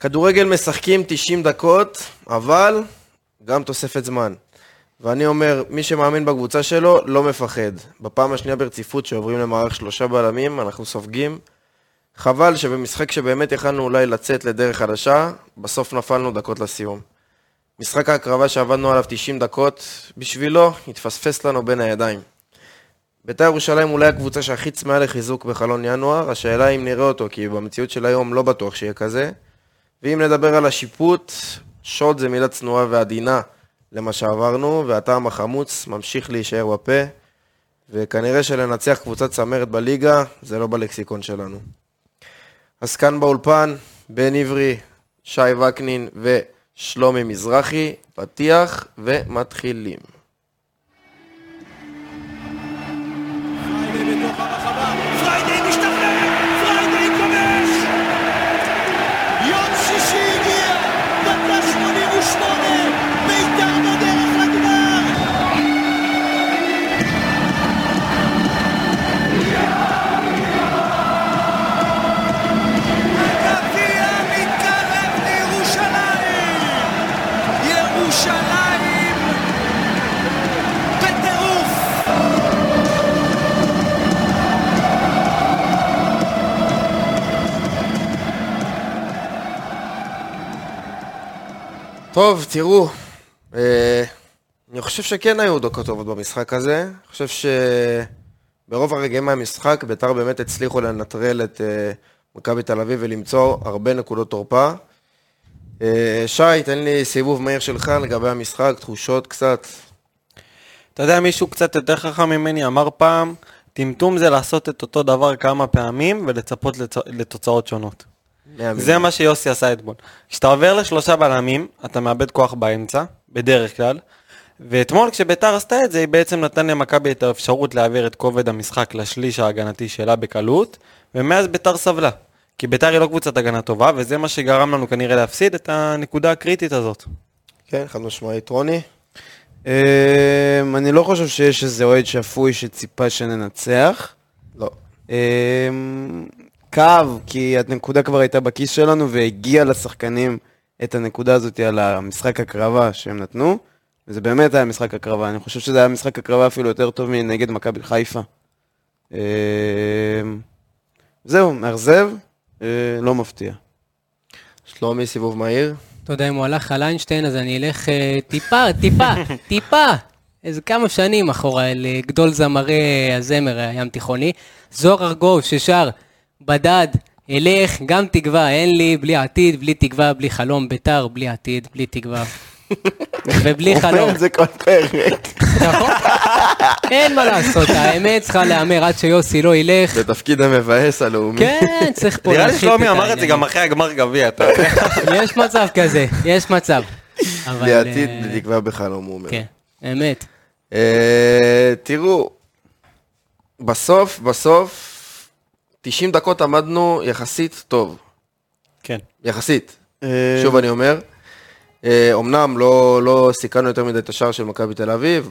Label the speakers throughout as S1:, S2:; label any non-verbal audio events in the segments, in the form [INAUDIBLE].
S1: כדורגל משחקים 90 דקות, אבל גם תוספת זמן. ואני אומר, מי שמאמין בקבוצה שלו, לא מפחד. בפעם השנייה ברציפות שעוברים למערך שלושה בלמים, אנחנו סופגים. חבל שבמשחק שבאמת יכלנו אולי לצאת לדרך חדשה, בסוף נפלנו דקות לסיום. משחק ההקרבה שעבדנו עליו 90 דקות, בשבילו התפספס לנו בין הידיים. בית"ר ירושלים אולי הקבוצה שהכי צמאה לחיזוק בחלון ינואר, השאלה אם נראה אותו, כי במציאות של היום לא בטוח שיהיה כזה. ואם נדבר על השיפוט, שוד זה מילה צנועה ועדינה למה שעברנו, והטעם החמוץ ממשיך להישאר בפה, וכנראה שלנצח קבוצת צמרת בליגה, זה לא בלקסיקון שלנו. אז כאן באולפן, בן עברי, שי וקנין ושלומי מזרחי, פתיח ומתחילים.
S2: פריידי בתוך הרחבה, פריידי משתחרר, פריידי כובש! יום שישי הגיע, דקה 88, בית"ר בדרך לגמר! הגביע מתקרב לירושלים! ירושלים בטירוף!
S1: טוב, תראו, אה, אני חושב שכן היו דקות טובות במשחק הזה. אני חושב שברוב הרגעים מהמשחק ביתר באמת הצליחו לנטרל את אה, מכבי תל אביב ולמצוא הרבה נקודות תורפה. אה, שי, תן לי סיבוב מהיר שלך לגבי המשחק, תחושות קצת.
S3: אתה יודע, מישהו קצת יותר חכם ממני אמר פעם, טמטום זה לעשות את אותו דבר כמה פעמים ולצפות לצ... לתוצאות שונות. זה מה שיוסי עשה אתמול. כשאתה עובר לשלושה בלמים, אתה מאבד כוח באמצע, בדרך כלל, ואתמול כשביתר עשתה את זה, היא בעצם נתן למכבי את האפשרות להעביר את כובד המשחק לשליש ההגנתי שלה בקלות, ומאז ביתר סבלה. כי ביתר היא לא קבוצת הגנה טובה, וזה מה שגרם לנו כנראה להפסיד את הנקודה הקריטית הזאת.
S1: כן, חד משמעית. רוני?
S4: אמ, אני לא חושב שיש איזה אוהד שפוי שציפה שננצח.
S1: לא.
S4: אמ, כאב, כי הנקודה כבר הייתה בכיס שלנו והגיעה לשחקנים את הנקודה הזאת על המשחק הקרבה שהם נתנו. וזה באמת היה משחק הקרבה, אני חושב שזה היה משחק הקרבה אפילו יותר טוב מנגד מכבי חיפה. אמ, זהו, מאכזב, אה, לא מפתיע.
S1: שלומי, סיבוב מהיר.
S5: אתה יודע, אם הוא הלך על איינשטיין, אז אני אלך אה, טיפה,
S3: [LAUGHS]
S5: טיפה, טיפה. איזה כמה שנים אחורה, אל אה, גדול זמרי הזמר אה, הים תיכוני. זוהר ארגוב ששר, בדד, אלך, גם תקווה, אין לי, בלי עתיד, בלי תקווה, בלי חלום, ביתר, בלי עתיד,
S3: [LAUGHS]
S5: בלי תקווה. ובלי
S4: אומר
S5: חלום,
S4: את זה
S5: [LAUGHS]
S4: כל פרק.
S5: נכון? אין מה לעשות, האמת צריכה להיאמר עד שיוסי לא ילך.
S1: זה תפקיד המבאס הלאומי.
S5: כן, צריך פה
S3: נראה לי
S5: להרחיק
S3: שלומי
S5: את
S3: אמר את זה
S5: העניינים.
S3: גם אחרי הגמר גביע, אתה
S5: [LAUGHS] יש מצב כזה, יש מצב. אבל,
S1: בלי עתיד,
S5: אה,
S1: בלי תקווה בחלום, הוא אומר.
S5: כן, אמת.
S1: אה, תראו, בסוף, בסוף, 90 דקות עמדנו יחסית טוב.
S3: כן.
S1: יחסית. שוב אני אומר. אה, אומנם לא, לא סיכנו יותר מדי את השער של מכבי תל אביב,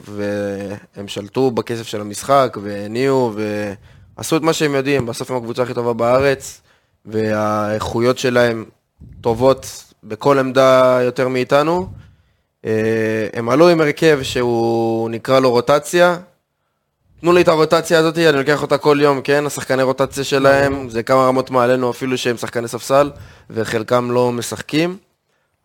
S1: והם שלטו בכסף של המשחק, והניעו, ועשו את מה שהם יודעים. בסוף הם הקבוצה הכי טובה בארץ, והאיכויות שלהם טובות בכל עמדה יותר מאיתנו. אה, הם עלו עם הרכב שהוא נקרא לו רוטציה. תנו לי את הרוטציה הזאת, אני לוקח אותה כל יום, כן? השחקני רוטציה שלהם, זה כמה רמות מעלינו אפילו שהם שחקני ספסל, וחלקם לא משחקים.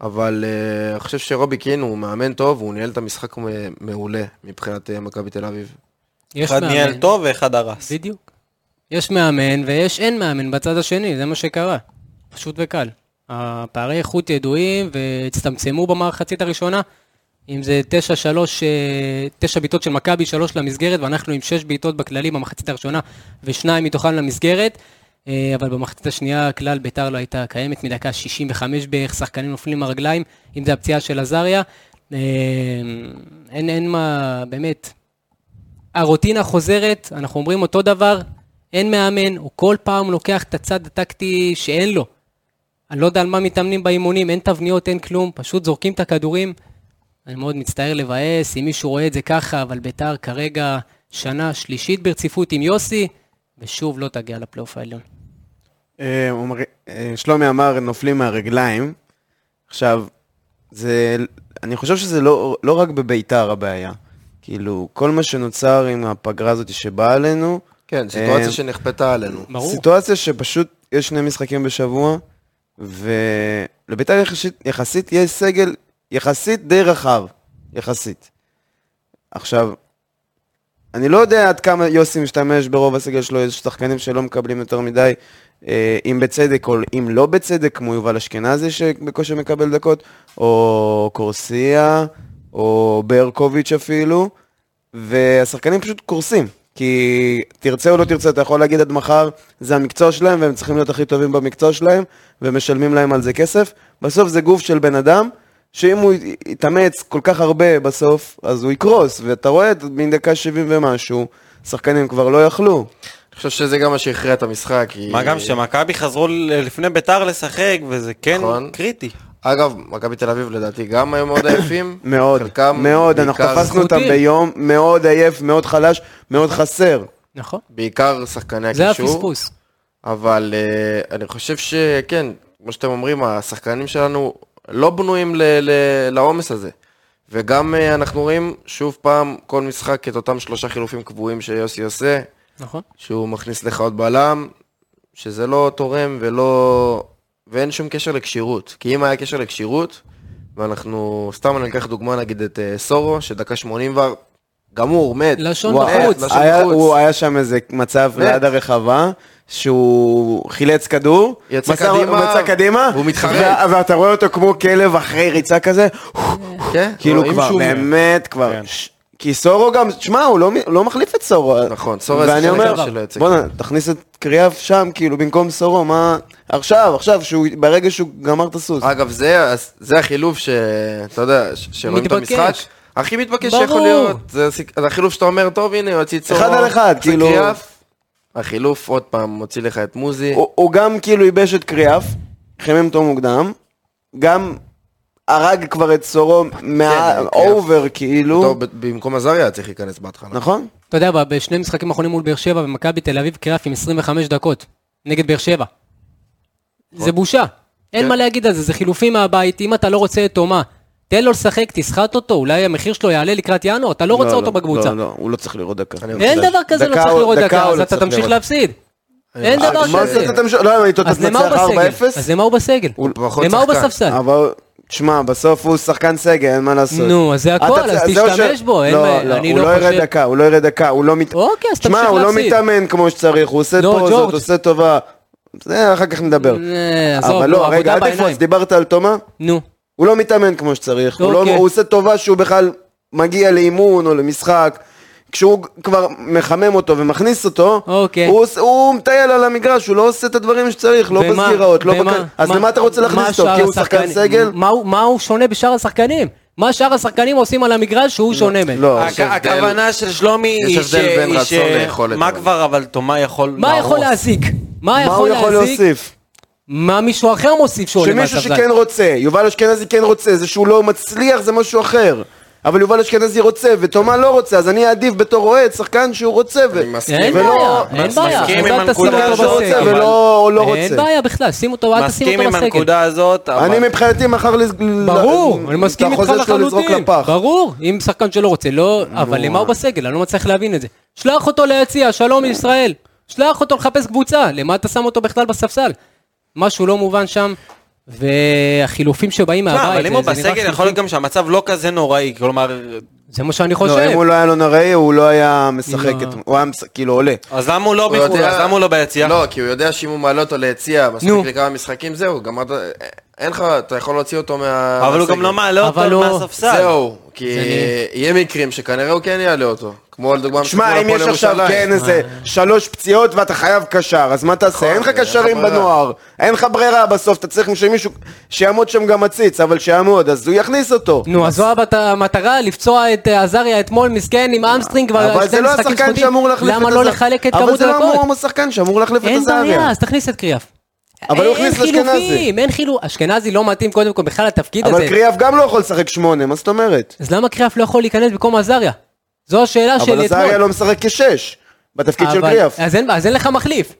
S1: אבל אה, אני חושב שרובי קין הוא מאמן טוב, הוא ניהל את המשחק מ- מעולה מבחינת אה, מכבי תל אביב.
S5: יש
S3: אחד ניהל
S5: מאמן.
S3: טוב ואחד הרס.
S5: בדיוק. יש מאמן ויש אין מאמן בצד השני, זה מה שקרה. פשוט וקל. הפערי איכות ידועים והצטמצמו במחצית הראשונה. אם זה 9-3, אה, 9 בעיטות של מכבי, 3 למסגרת, ואנחנו עם 6 בעיטות בכללי במחצית הראשונה, ושניים מתוכן למסגרת. אה, אבל במחצית השנייה כלל ביתר לא הייתה קיימת, מדקה 65 בערך, שחקנים נופלים מהרגליים, אם זה הפציעה של עזריה. אה, אין, אין מה, באמת, הרוטינה חוזרת, אנחנו אומרים אותו דבר, אין מאמן, הוא כל פעם לוקח את הצד הטקטי שאין לו. אני לא יודע על מה מתאמנים באימונים, אין תבניות, אין כלום, פשוט זורקים את הכדורים. אני מאוד מצטער לבאס, אם מישהו רואה את זה ככה, אבל ביתר כרגע שנה שלישית ברציפות עם יוסי, ושוב לא תגיע לפלייאוף העליון.
S4: אה, אומר- אה, שלומי אמר, נופלים מהרגליים. עכשיו, זה, אני חושב שזה לא, לא רק בביתר הבעיה. כאילו, כל מה שנוצר עם הפגרה הזאת שבאה עלינו,
S1: כן, סיטואציה
S4: אה,
S1: שנכפתה עלינו.
S5: ברור.
S4: סיטואציה שפשוט יש שני משחקים בשבוע, ולביתר יחסית, יחסית יש סגל יחסית די רחב, יחסית. עכשיו, אני לא יודע עד כמה יוסי משתמש ברוב הסגל שלו, יש שחקנים שלא מקבלים יותר מדי, אה, אם בצדק או אם לא בצדק, כמו יובל אשכנזי שבקושי מקבל דקות, או קורסיה, או ברקוביץ' אפילו, והשחקנים פשוט קורסים. כי תרצה או לא תרצה, אתה יכול להגיד עד מחר, זה המקצוע שלהם והם צריכים להיות הכי טובים במקצוע שלהם, ומשלמים להם על זה כסף. בסוף זה גוף של בן אדם, שאם הוא י- יתאמץ כל כך הרבה בסוף, אז הוא יקרוס, ואתה רואה את מדקה 70 ומשהו, שחקנים כבר לא יכלו.
S1: אני חושב שזה גם מה שהכריע את המשחק. כי-
S3: מה גם שמכבי חזרו ל- לפני ביתר לשחק, וזה כן
S1: נכון.
S3: קריטי.
S1: אגב, מכבי תל אביב לדעתי גם היו מאוד עייפים.
S4: [COUGHS] מאוד,
S1: חלקם
S4: מאוד, אנחנו
S1: בעיקר-
S4: תפסנו אותם
S5: זכותי.
S4: ביום מאוד עייף, מאוד חלש, מאוד חסר.
S5: נכון.
S1: בעיקר שחקני הקישור.
S5: זה הפספוס.
S1: אבל אה, אני חושב שכן, כמו שאתם אומרים, השחקנים שלנו לא בנויים ל- ל- לעומס הזה. וגם אה, אנחנו רואים שוב פעם כל משחק את אותם שלושה חילופים קבועים שיוסי עושה,
S5: נכון.
S1: שהוא מכניס לך עוד בלם, שזה לא תורם ולא... ואין שום קשר לכשירות. כי אם היה קשר לכשירות, ואנחנו, סתם אני אקח דוגמה נגיד את אה, סורו, שדקה 80 כבר גמור, מת.
S5: לשון
S1: וואו,
S5: בחוץ.
S1: לשון
S4: היה,
S1: בחוץ.
S4: הוא היה שם איזה מצב
S1: באמת?
S4: ליד הרחבה, שהוא חילץ כדור,
S1: יצא
S4: מסר-
S1: קדימה,
S4: הוא יצא קדימה,
S1: והוא מתחרט.
S4: וה- ואתה רואה אותו כמו כלב אחרי ריצה כזה,
S1: כן,
S4: כאילו
S1: רואים
S4: כבר,
S1: שהוא-
S4: באמת כבר. ש- כי סורו גם, שמע, הוא לא מ- הוא לא מחליף את סורו.
S1: נכון, סורו זה
S4: ואני
S1: חלק
S4: אומר,
S1: מהקו שלא יוצא.
S4: בואנה, תכניס את קריאף שם, כאילו, במקום סורו, מה... עכשיו, עכשיו, שהוא- ברגע שהוא גמר את הסוס.
S1: אגב, זה, אז- זה החילוף שאתה יודע, ש- שרואים את
S5: מתבקש.
S1: המשחק. הכי מתבקש
S5: ברור.
S1: שיכול להיות. זה הסיק- זה החילוף שאתה אומר, טוב, הנה, יוציא צורו.
S4: אחד על אחד,
S1: זה
S4: כאילו."
S1: קריאף. החילוף, עוד פעם, מוציא לך את מוזי.
S4: הוא הוא גם כאילו ייבש את קריאף, חימם אותו מוקדם, גם הרג כבר את סורו מהאובר, אה, כאילו.
S1: כן, טוב, ב- במקום עזריה היה צריך להיכנס בהתחלה.
S4: נכון?
S5: אתה יודע, ב- בשני משחקים האחרונים מול באר שבע ומכבי תל אביב קרף עם 25 דקות נגד באר שבע.
S4: נכון.
S5: זה בושה. אין
S1: כן.
S5: מה להגיד על זה, זה חילופים מהבית, אם אתה לא רוצה את תומה, תן לו לשחק, תסחט אותו, אולי המחיר שלו יעלה לקראת ינואר, אתה לא רוצה אותו בקבוצה.
S4: לא, לא, הוא לא צריך לראות דקה.
S1: אני-
S5: אין
S1: דקה-
S5: דבר כזה, לא
S4: דקה
S5: צריך
S4: הוא-
S5: לראות
S4: דקה
S5: דקה,
S4: הוא
S5: אז
S4: לא
S5: אתה
S4: צריך
S5: תמשיך
S4: לראות. אה,
S5: להפסיד. אין דבר
S4: מה זה
S5: כזה.
S4: אתה תמשיך? לא, אם איתו
S5: אז למה הוא
S4: תנצח 4-0?
S5: בסגל? אז למה הוא בסגל?
S1: הוא פחות
S5: למה הוא
S1: שחקן.
S5: בספסל?
S4: אבל, תשמע, בסוף הוא שחקן סגל, אין מה לעשות.
S5: נו, אז זה הכל,
S4: אה, אתה-
S5: אז
S4: זהו
S5: תשתמש בו, אין
S4: לא,
S5: מה-
S4: לא,
S5: אני
S4: הוא
S5: לא
S4: לא ירד
S5: חושב-
S4: דקה, הוא לא ירד דקה, הוא לא מת...
S5: אוקיי, אז
S4: תשמע,
S5: תמשיך
S4: הוא לא
S5: להפסיד.
S4: מתאמן כמו שצריך, הוא עושה
S5: לא,
S4: פוזות,
S5: ג'ורג'.
S4: עושה טובה. זה, אחר כך נדבר.
S5: אה, עזוב,
S4: אבל
S5: נו,
S4: לא,
S5: עבודה
S4: רגע, אל תקפוץ,
S5: בעיניים.
S4: דיברת על תומה?
S5: נו,
S4: הוא לא מתאמן כמו שצריך, הוא, לא,
S5: אוקיי.
S4: הוא עושה טובה שהוא בכלל מגיע לאימון או למשחק. כשהוא כבר מחמם אותו ומכניס אותו,
S5: אוקיי.
S4: הוא, עוש- הוא מטייל על המגרש, הוא לא עושה את הדברים שצריך, לא
S5: ומה-
S4: בסגירות, לא
S5: ומה-
S4: בכ... אז
S5: מה-
S4: למה אתה רוצה
S5: מה
S4: להכניס אותו?
S5: שאר
S4: כי הוא שחקן
S5: השחקנים-
S4: סגל?
S5: מה הוא- מה הוא שונה בשאר השחקנים? מה שאר השחקנים עושים על המגרש שהוא שונה מהם?
S4: לא,
S3: הכ-
S1: הבדל-
S3: הכוונה של שלומי
S1: יש
S3: היא ש...
S1: הבדל בין
S3: היא
S1: רצון
S3: ש-
S1: ליכולת,
S3: מה
S1: אבל.
S3: כבר אבל תומה יכול
S5: מה יכול
S3: להרוס?
S5: להזיק? מה
S4: לא, מה הוא
S5: יכול
S4: יכול
S5: להזיק?
S4: להוסיף?
S5: מה מישהו אחר מוסיף שהוא עולה
S4: שמישהו
S5: מהספסל?
S4: שכן רוצה, יובל אשכנזי כן רוצה, זה שהוא לא מצליח זה משהו אחר. אבל יובל אשכנזי רוצה, ותומה לא רוצה, אז אני אעדיף בתור אוהד שחקן שהוא רוצה, ו...
S1: אני מסכים.
S5: אין
S4: ולא-
S5: בעיה, אין בעיה.
S3: מסכים
S5: אז
S3: עם
S5: אל תשים
S3: הנקודה
S5: אותו
S4: שהוא
S3: הזאת,
S4: רוצה
S5: בסגל.
S3: אבל-
S4: ולא לא
S5: אין
S4: רוצה.
S5: בעיה בכלל, שים אותו, אל תשים
S3: מסכים
S5: אותו
S3: עם
S5: בסגל.
S3: הנקודה הזאת, אבל...
S4: אני מבחינתי מחר... לז- ל-
S5: ברור,
S4: ל-
S5: אני מסכים
S4: את
S5: איתך
S4: החוזה שלו לזרוק
S5: לחלוטין.
S4: לפח.
S5: ברור, אם שחקן שלא רוצה, לא, אבל למה הוא בסגל? אני לא מצליח להבין את זה. שלח אותו ליציע, שלום ישראל. שלח אותו לחפש קבוצה, למה אתה שם אותו בכלל בספסל? משהו לא מובן שם, והחילופים שבאים
S3: תשמע,
S5: מהבית,
S3: אבל אם הוא
S5: זה נראה
S3: בסגל, יכול
S5: חילופים-
S3: להיות גם שהמצב לא כזה נוראי, כלומר...
S5: זה מה שאני
S4: לא, אם
S5: חושב.
S4: הוא לא היה לו נראי, הוא לא היה משחק,
S5: לא.
S4: את- הוא היה מש- כאילו עולה.
S3: אז למה הוא לא
S1: הוא
S3: בחו"ל?
S1: יודע-
S3: אז למה הוא לא ביציע?
S1: לא, כי הוא יודע שאם הוא מעלה אותו ליציע,
S5: נו.
S1: מספיק לכמה משחקים, זהו, גמרת... אין לך, אתה יכול להוציא אותו מה...
S3: אבל הוא גם
S1: מהסגל.
S3: לא מעלה
S5: אבל
S3: אותו
S5: הוא-
S3: מהספסל.
S1: זהו, כי
S5: אני-
S1: יהיה מקרים שכנראה הוא כן יעלה אותו. כמו לדוגמה,
S4: שמע, אם יש עכשיו כן איזה שלוש פציעות ואתה חייב קשר, אז מה תעשה? נכון, אין לך
S1: אין לך
S4: קשרים
S1: ברירה.
S4: בנוער, אין לך ברירה בסוף, אתה צריך שמישהו, שיעמוד שם גם עציץ, אבל שיעמוד, אז הוא יכניס אותו.
S5: נו, אז זו הבת- המטרה, לפצוע את אה, עזריה אתמול, מסכן, עם אמסטרינג, כבר
S4: אבל
S5: שני
S4: זה לא
S5: משחקים
S4: השחקן
S5: זכותיים.
S4: שאמור להחליף את
S5: למה
S4: הזר-
S5: לא לחלק את
S4: אבל
S5: כמות
S4: זה לא
S5: הדקות?
S4: אמור השחקן שאמור להחליף את
S5: אין בעיה,
S4: הזאריה.
S5: אז תכניס את קריאף.
S4: אבל הוא
S5: אין
S4: הכניס את אשכנזי.
S5: חילופים, אין חילופים, אשכנזי לא מתאים קודם כל בכלל לתפקיד הזה.
S4: אבל קריאף גם לא יכול לשחק שמונה, מה זאת אומרת?
S5: אז למה קריאף לא יכול להיכנס במקום עזריה? זו השאלה שלי
S4: אבל
S5: אתמול.
S4: עזריה לא משחק כשש, בתפקיד של
S5: אבל-
S4: קריאף. לא,
S5: אז אין- אז אין לך מחליף.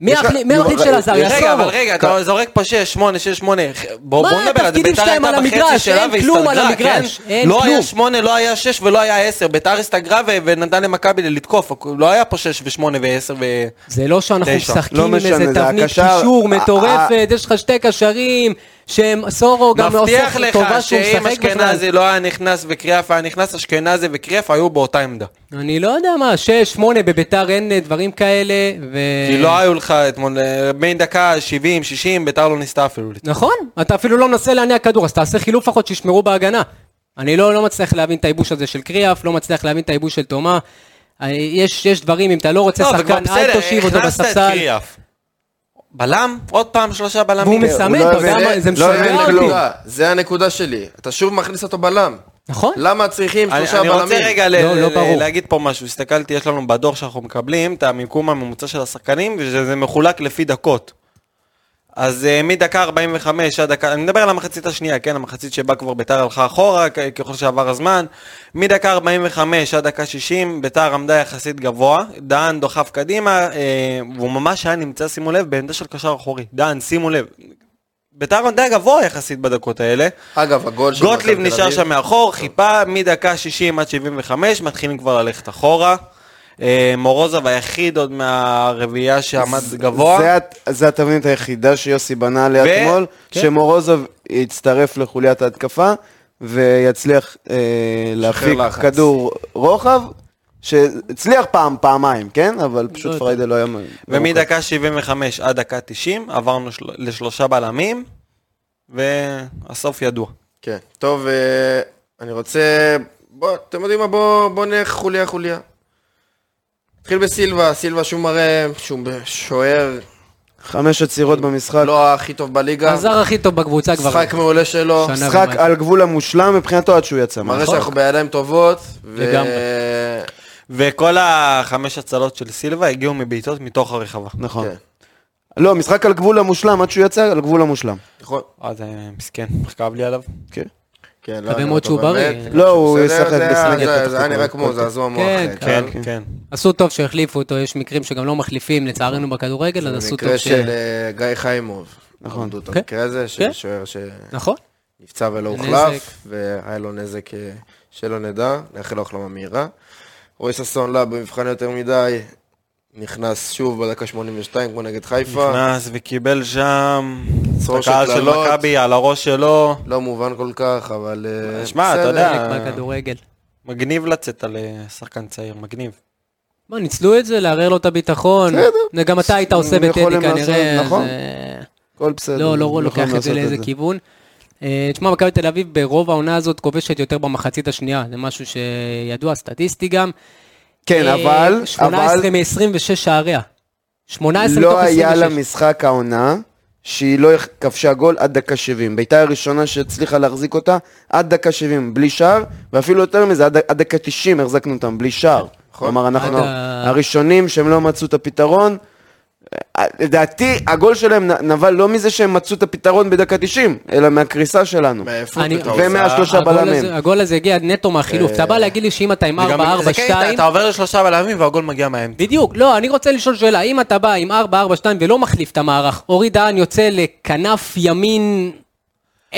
S5: מי
S1: יש לך-
S5: המחליף- מי
S1: נו,
S5: המחליף
S1: ר-
S5: של
S4: אה,
S5: עזריה?
S3: רגע,
S5: סובו.
S3: אבל רגע, אתה זורק פה 6, 8, 6, 8. בואו
S5: כן. מה
S3: נדבר על זה.
S5: התפקידים
S3: ביתר
S5: שלהם
S3: הייתה
S5: על
S3: בחצי
S5: המגרש?
S3: שלה
S5: אין כלום על
S3: והסתגלה, כן?
S5: המגרש, אין
S3: לא היה
S5: כלום.
S3: 8, לא היה 6 ולא היה 10. ביתר הסתגרה ו- ונתן למכבי לתקוף. לא היה פה 6 ו-8 ו-10 ו...
S5: זה לא שאנחנו
S3: תשע.
S5: משחקים
S4: לא
S5: עם
S4: משנה,
S5: איזה
S4: זה
S5: תבנית
S4: הקשר- אה,
S5: קישור
S4: ה-
S5: מטורפת, יש לך שתי קשרים, שהם סורו גם לא
S3: מבטיח
S5: עושה
S3: לך
S5: טובה שהוא
S3: שאם
S5: משחק בכלל.
S3: אשכנזי לא היה נכנס וקריאף היה נכנס, אשכנזי וקריאף היו באותה עמדה.
S5: אני לא יודע מה, שש, שמונה, בביתר אין אה, דברים כאלה, ו...
S3: כי לא היו לך אתמול, אה, בין דקה 70, 60, ביתר לא ניסתה אפילו. לתקוף.
S5: נכון, אתה אפילו לא מנסה להניע כדור, אז תעשה חילוף לפחות שישמרו בהגנה. אני לא, לא מצליח להבין את הייבוש הזה של קריאף, לא מצליח להבין את הייבוש של תומה. אה, יש, יש דברים, אם אתה לא רוצה
S3: לא, אבל כבר
S5: שחקן, אל
S3: בסדר,
S5: תושיב אותו
S3: הכנסת את
S5: בספסל.
S3: קריאף. בלם? עוד פעם שלושה
S5: והוא
S3: בלמים.
S5: מספר- מסמן, אתה יודע מה, זה
S1: לא
S5: משגע
S1: אה, הבין
S5: אותי.
S1: כלום. זה הנקודה שלי. אתה שוב מכניס אותו בלם.
S5: נכון?
S1: למה צריכים
S3: אני
S1: שלושה
S3: אני
S1: בלמים?
S3: רוצה רגע ל-
S5: לא, לא
S3: ל-
S5: ברור.
S3: להגיד פה משהו, הסתכלתי, יש לנו בדוח שאנחנו מקבלים את המיקום הממוצע של השחקנים, וזה מחולק לפי דקות. אז אה, מדקה 45 עד דקה, אני מדבר על המחצית השנייה, כן, המחצית שבה כבר ביתר הלכה אחורה, כ- ככל שעבר הזמן. מדקה 45 עד דקה 60, ביתר עמדה יחסית גבוה, דהן דוחף קדימה, אה, והוא ממש היה נמצא, שימו לב, בעמדה של קשר אחורי. דהן, שימו לב. ביתר עמדה גבוה יחסית בדקות האלה.
S1: אגב, הגול של
S3: גוטליב
S1: מכבי תל
S3: נשאר
S1: אביב-
S3: שם מאחור, חיפה מדקה 60 עד 75, מתחילים כבר ללכת אחורה. אה, מורוזוב היחיד עוד מהרביעייה שעמד
S4: זה
S3: גבוה.
S4: הת- זה התבנית היחידה שיוסי בנה עליה
S3: ו-
S4: אתמול,
S5: כן.
S4: שמורוזוב יצטרף לחוליית ההתקפה ויצליח אה, להפיק
S1: לחץ.
S4: כדור רוחב, שהצליח פעם, פעמיים, כן? אבל
S5: לא
S4: פשוט
S5: יודע.
S4: פריידה לא היה... מ- מרוכז.
S3: ומדקה 75 עד דקה 90 עברנו של- לשלושה בלמים, והסוף ידוע.
S1: כן. טוב, אה, אני רוצה... בוא, אתם יודעים מה? בוא, בוא נלך חוליה חוליה. נתחיל בסילבה, סילבה שהוא מראה שהוא שוער
S4: חמש עצירות במשחק,
S1: לא הכי טוב בליגה.
S5: הזר הכי טוב בקבוצה כבר.
S1: משחק מעולה שלו.
S5: שנה.
S4: משחק
S5: ומה-
S4: על גבול המושלם מבחינתו עד שהוא יצא. נכון?
S1: מראה
S4: מהמשחק.
S1: שאנחנו בידיים טובות. ו-
S5: לגמרי.
S3: וכל החמש הצלות של סילבה הגיעו מבעיטות מתוך הרחבה.
S4: נכון.
S1: כן.
S4: לא, משחק על גבול המושלם עד שהוא יצא, על גבול המושלם.
S1: נכון.
S3: אה, זה מסכן, כאב לי עליו.
S1: כן,
S5: מקווה מאוד שהוא בריא.
S4: לא, הוא
S1: בסדר,
S4: ישחק
S1: זה היה-
S4: בסנגל
S1: זה-
S4: פתח
S1: זה היה
S4: תקווה.
S1: נראה כמו זעזוע מוח.
S5: כן,
S1: אה,
S3: כן,
S1: קל.
S3: כן.
S5: עשו טוב שהחליפו אותו, יש מקרים שגם לא מחליפים, לצערנו בכדורגל, אז עשו טוב
S1: במקרה
S5: ש...
S1: של אה, גיא חיימוב.
S4: נכון.
S1: נכון. את
S5: כן.
S1: המקרה הזה, של
S5: כן.
S1: שוער שנפצע
S5: נכון?
S1: ולא
S5: נזק.
S1: הוחלף, והיה לו נזק אה, שלא נדע, נאחל לו החלמה מהירה. רועי ששון לה במבחן יותר מדי, נכנס שוב בדקה 82 כמו נגד חיפה,
S3: נכנס וקיבל שם,
S1: צרור של
S3: הקהל של
S1: קללות.
S3: מכבי על הראש שלו.
S1: לא מובן כל כך, אבל אה,
S3: שמע, אתה
S1: בסדר.
S3: יודע,
S5: חלק מהכדורגל.
S3: מגניב לצאת על אה, שחקן צעיר, מגניב.
S5: מה, ניצלו את זה, לערער לו את הביטחון. זה גם אתה היית עושה
S4: הם
S5: בטדי
S4: יכולים
S5: כנראה.
S4: לעשות, נכון.
S5: זה-
S4: הכל בסדר.
S5: לא, לא
S4: יכולים
S5: לוקח את
S4: נכון, לעשות
S5: זה לאיזה כיוון. אה, תשמע, מכבי תל אביב ברוב העונה הזאת כובשת יותר במחצית השנייה, זה משהו שידוע, סטטיסטי גם.
S4: כן,
S5: אה,
S4: אבל,
S5: 18
S4: אבל
S5: מ-26 שעריה. 18 מתוך
S4: לא היה לה
S5: 26.
S4: משחק העונה שהיא לא כבשה גול עד דקה 70. ביתה הראשונה שהצליחה להחזיק אותה עד דקה 70 בלי שער, ואפילו יותר מזה, עד עד דקה 90 החזקנו אותם בלי שער. כלומר, אנחנו
S5: נכון. עד ה-
S4: הראשונים שהם לא מצאו את הפתרון. אה, לדעתי, הגול שלהם נ- נבע לא מזה שהם מצאו את הפתרון בדקה 90, אלא מהקריסה שלנו.
S1: מעייפות
S5: אני-
S1: אתה עושה.
S4: ומהשלושה
S5: הגול
S4: בלמים. אה,
S5: הזה- הגול הזה הגיע נטו מהחילוף. אתה בא להגיד לי שאם אתה עם
S3: זה גם-
S5: 4-4-2...
S3: זה כן, אתה- אתה עובר לשלושה בלמים והגול מגיע מהם.
S5: בדיוק, לא, אני רוצה לשאול שאלה, אם אתה בא עם 4-4-2 ולא מחליף את המערך, אורי דהן יוצא לכנף ימין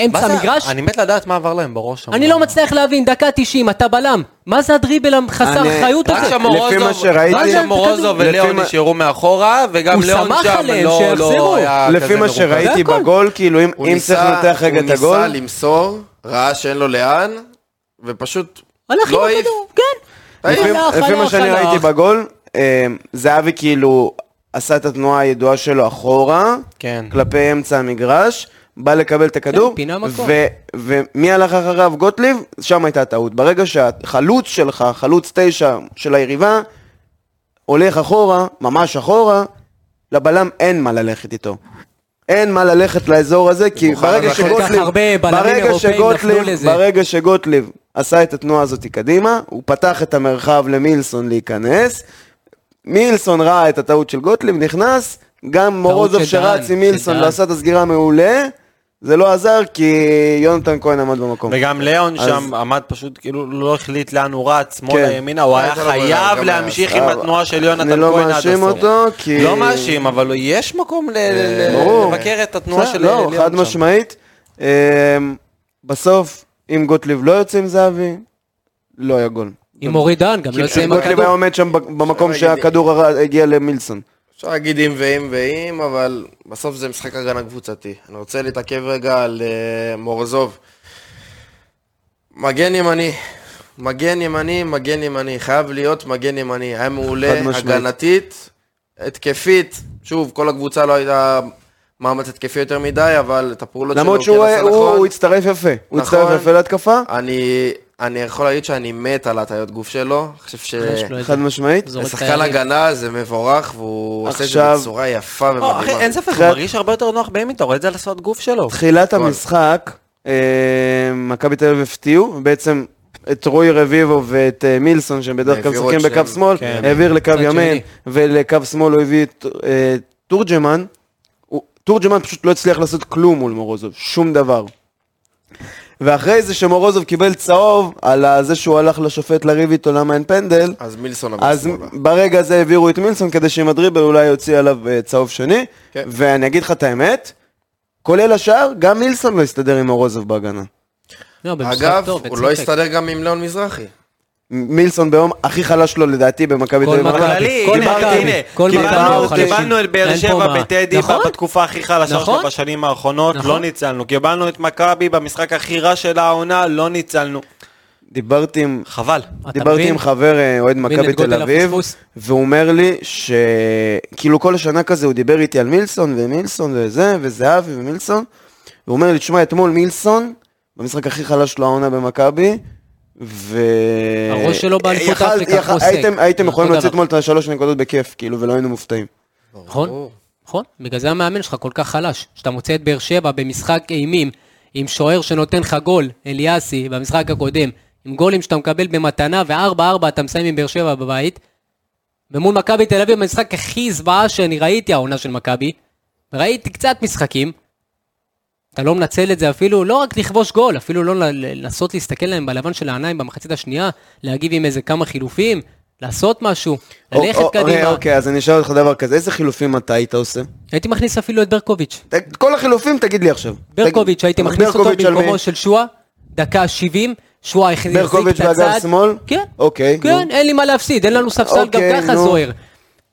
S5: אמצע המגרש?
S3: אני מת לדעת מה עבר להם בראש. שם.
S5: אני לא מצליח להבין, דקה 90, אתה בלם, מה זה הדריבל החסר
S4: אני-
S5: אחריות
S3: רק
S5: הזה?
S4: לפי מה
S3: שמורוזוב,
S4: שראיתי-
S3: רק שמורוזוב
S4: לפי
S3: וליאון
S4: מה-
S3: נשארו מאחורה, וגם
S5: הוא
S3: ליאון
S5: סמך
S3: שם
S5: עליהם
S3: לא-
S5: שיחזרו.
S3: לא היה כזה
S4: לפי מה
S3: מרוכז.
S4: שראיתי
S5: זה הכל.
S4: בגול, כאילו, אם
S1: הוא
S4: אם
S1: ניסה-
S4: צריך לנתח רגע את
S1: הוא
S4: הגול...
S1: ניסה למסור, ראה שאין לו לאן, ופשוט
S5: הלך עם
S1: לא העיף.
S5: הכדור, כן.
S4: לא לפי
S5: הלך,
S4: לפי מה
S5: הלך,
S4: שאני
S5: הלך.
S4: ראיתי בגול, אה, זהבי כאילו עשה את התנועה הידועה שלו אחורה,
S3: כן.
S4: כלפי אמצע המגרש, בא לקבל את הכדור,
S5: כן, פינה מקום.
S4: ו- ומי הלך אחריו? גוטליב, שם הייתה הטעות. ברגע שהחלוץ שלך, חלוץ תשע של היריבה, הולך אחורה, ממש אחורה, לבלם אין מה ללכת איתו. אין מה ללכת לאזור הזה, כי
S1: במיוחד
S4: ברגע
S1: אחרי
S5: כל כך
S4: שגוטליב,
S5: הרבה בלמים
S4: ברגע
S5: אירופאים
S4: שגוטליב,
S5: נפלו לזה.
S4: ברגע שגוטליב עשה את התנועה הזאת קדימה, הוא פתח את המרחב למילסון להיכנס, מילסון ראה את הטעות של גוטליב, נכנס, גם מורוזוב
S5: של דהן,
S4: שרץ עם
S5: של
S4: מילסון
S5: דהן.
S4: ועשה את הסגירה מעולה, זה לא עזר כי יונתן כהן עמד במקום.
S3: וגם ליאון
S4: אז-
S3: שם עמד פשוט, כאילו לא החליט לאן הוא רץ, שמאלה,
S4: כן. אה,
S3: ימינה, הוא היה
S5: לא
S1: הייתה לו בעיה,
S3: חייב
S1: גם
S3: להמשיך עם
S1: היה-
S3: התנועה של יונתן
S4: אני
S3: כהן עד
S4: לא
S3: הסוף.
S4: מאשים אותו, כי... אה,
S3: לא מאשים, אבל יש מקום ל- ל-
S5: אה,
S4: ברור.
S3: לבקר את התנועה
S4: בסדר,
S3: של
S4: לא,
S3: ליאון
S4: חד
S3: שם.
S4: משמעית. אמ, בסוף, אם גוטליב לא יוצא עם זהבי, לא היה גול.
S5: עם אורי דן, גם לא יוצא
S4: כי
S5: עם
S4: גוטליב היה
S5: הכדור.
S4: עומד שם במקום
S1: אפשר להגיד-
S4: שהכדור הר- הגיע למילסון.
S1: אפשר להגיד אם ואם ואם, אבל בסוף זה משחק הגנה קבוצתי. אני רוצה להתעכב רגע על אה, מורזוב. מגן ימני. מגן ימני, מגן ימני. חייב להיות מגן ימני. היה מעולה,
S4: חד משמעית.
S1: הגנתית, התקפית. שוב, כל הקבוצה לא הייתה מאמץ התקפי יותר מדי, אבל את הפעולות שלו
S4: למרות
S1: הוא
S4: שהוא
S1: כן עשה
S4: היה- הוא-
S1: נכון.
S4: הוא הצטרף יפה. הוא
S1: נכון.
S4: הצטרף יפה להתקפה,
S1: אני, אני יכול להגיד שאני מת על הטעיות גוף שלו. אני חושב ש...
S5: יש לו את זה.
S4: חד משמעית.
S5: זורק את
S1: לשחקן
S5: היריב.
S1: הגנה זה מבורך, והוא עושה את זה
S4: עכשיו-
S1: בצורה יפה
S3: לא, אחי,
S1: ומדהימה.
S3: אין ספק, הוא מרגיש הרבה יותר נוח בימין, אתה רואה את זה על השפת גוף שלו.
S4: תחילת
S1: גול.
S4: המשחק, אה, מכבי תל אביב הפתיעו, בעצם את רוי רביבו ואת אה, מילסון, שהם בדרך כלל
S1: העבירו
S4: משחקים
S1: את שניהם.
S4: בקו שמאל,
S3: כן.
S4: העביר לקו
S5: צד
S4: ימין,
S5: שני.
S4: ולקו שמאל הוא הביא את אה, תורג'מן. הוא- תורג'מן פשוט לא הצליח לעשות כלום מול מורוזוב, שום דבר. ואחרי זה שמורוזוב קיבל צהוב על ה- זה שהוא הלך לשופט לריב איתו למה אין פנדל,
S1: אז מילסון עבר
S4: אז
S1: שמאלה.
S4: ברגע הזה העבירו את מילסון כדי שעם הדריבל אולי יוציא עליו אה, צהוב שני.
S1: כן.
S4: ואני אגיד לך את האמת, כולל השאר, גם מילסון לא הסתדר עם אורוזוב בהגנה.
S5: לא, במשחק
S1: אגב,
S5: טוב,
S1: הוא לא
S5: בצדק.
S1: הסתדר גם עם ליאון מזרחי.
S4: מ- מילסון ביום הכי חלש שלו לדעתי במכבי
S5: כל
S4: תל אביב.
S5: מכבי,
S3: כללי,
S5: כל
S3: דיברתי,
S5: מכבי,
S3: הנה,
S5: כל מכבי
S3: קיבלנו-
S5: הוא חלש.
S3: קיבלנו את באר
S5: אין פה
S3: שבע
S5: מה.
S3: בטדי
S5: נכון.
S3: ב- בתקופה הכי חלשה שלו
S5: נכון.
S3: בשנים האחרונות, לא
S5: נכון.
S3: ניצלנו. קיבלנו את מכבי במשחק הכי רע של העונה, לא ניצלנו.
S4: דיברתי עם...
S3: חבל.
S5: אתה
S4: דיברתי
S5: מבין?
S4: עם חבר אה, אוהד מכבי
S5: לגודל
S4: תל אביב,
S5: הפספוס.
S4: והוא אומר לי ש... כאילו כל השנה כזה הוא דיבר איתי על מילסון ומילסון וזה, וזהבי ומילסון. והוא אומר לי, תשמע, אתמול מילסון, במשחק הכי חלש שלו העונה במכבי, ו...
S5: הראש שלו באליפות
S4: יכל-
S5: אפריקה
S4: יכל-
S5: חוסק.
S4: הייתם, הייתם
S5: אותו
S4: יכולים להוציא
S5: דבר.
S4: אתמול את השלוש נקודות בכיף, כאילו, ולא היינו מופתעים.
S5: נכון, נכון. בגלל זה המאמן שלך כל כך חלש. כשאתה מוצא את באר שבע במשחק אימים, עם שוער שנותן לך גול, אליאסי, במשחק הקודם, עם גולים שאתה מקבל במתנה, ו-4-4 אתה מסיים עם באר שבע בבית, ומול מכבי תל אביב, המשחק הכי זוועה שאני ראיתי, העונה של מכבי, ראיתי קצת משחקים, אתה לא מנצל את זה אפילו, לא רק לכבוש גול, אפילו לא ל- לנסות להסתכל להם בלבן של העיניים במחצית השנייה, להגיב עם איזה כמה חילופים, לעשות משהו, ללכת
S4: או- או-
S5: קדימה.
S4: אוקיי, אז אני אשאל אותך דבר כזה, איזה חילופים אתה היית עושה?
S5: הייתי מכניס אפילו את ברקוביץ'.
S4: ת- את כל החילופים תגיד לי עכשיו.
S5: ברקוביץ',
S4: תגיד-
S5: הייתי מכניס אותו
S4: ברקוביץ' על מי?
S5: במקומו של שואה, דקה 70, שואה החזיק את הצד.
S4: ברקוביץ' באגף שמאל?
S5: כן.
S4: אוקיי,
S5: כן,
S4: נו.
S5: אין לי מה להפסיד, אין לנו ספסל גם
S4: אוקיי,
S5: ככה
S4: נו.
S5: זוהר.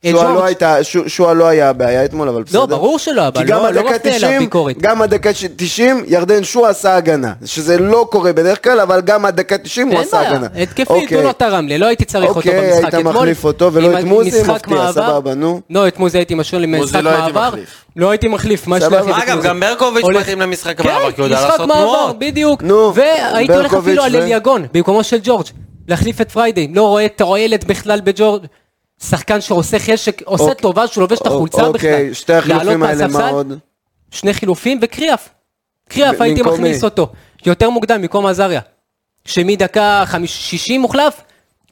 S5: אה,
S4: שועה
S5: ג'ורג'-
S4: לא הייתה- ש- שועה לא היה הבעיה אתמול, אבל בסדר.
S5: לא, ברור שלא,
S4: כי
S5: אבל
S4: גם
S5: לא לא
S4: הדקה
S5: מפנה אליו
S4: 90,
S5: ביקורת.
S4: גם הדקה ש- 90, ירדן שועה עשה הגנה. שזה לא קורה בדרך כלל, אבל גם הדקה 90 הוא
S5: אין
S4: עשה הגנה.
S5: בעיה, התקפית, הוא
S4: אוקיי.
S5: לא תרם לי, לא הייתי צריך אותו
S4: אוקיי,
S5: במשחק
S4: היית
S5: אתמול.
S4: מחליף אותו ולא
S5: עם
S4: את מוזי,
S5: משחק
S4: מפתיע,
S5: מעבר-
S4: סבבה, נו.
S5: לא, את מוזי הייתי משאיר
S1: מוזי
S5: למשחק
S1: לא הייתי
S5: מעבר.
S1: מחליף.
S5: לא הייתי מחליף, מה יש לי
S4: סבבה,
S5: להחליף את
S3: אגב,
S5: מוזי?
S3: גם ברקוביץ'
S5: אוקיי, הולך-
S3: מתאים למשחק מעבר, כי
S5: כן,
S3: הוא יודע
S5: משחק
S3: כאילו, לעשות
S5: מעבר,
S3: תנועות.
S5: בדיוק.
S4: נו,
S5: והייתי הולך
S4: ברקוביץ'
S5: אפילו על
S4: ו-
S5: אליגון, במקומו של ג'ורג', להחליף את פריידי. לא רואה תועלת בכלל בג'ורג'. שחקן שעושה חשק, עושה
S4: אוקיי.
S5: טובה שהוא לובש את החולצה בכלל.
S4: אוקיי, שתי החילופים
S5: לעלות
S4: האלה, מה
S5: מהספסל,
S4: עוד?
S5: שני חילופים וקריאף. קריאף
S4: ב-
S5: הייתי
S4: במקום
S5: מכניס
S4: מי?
S5: אותו. יותר מוקדם, במקום עזריה. שמדקה חמיש- 60 מוחלף,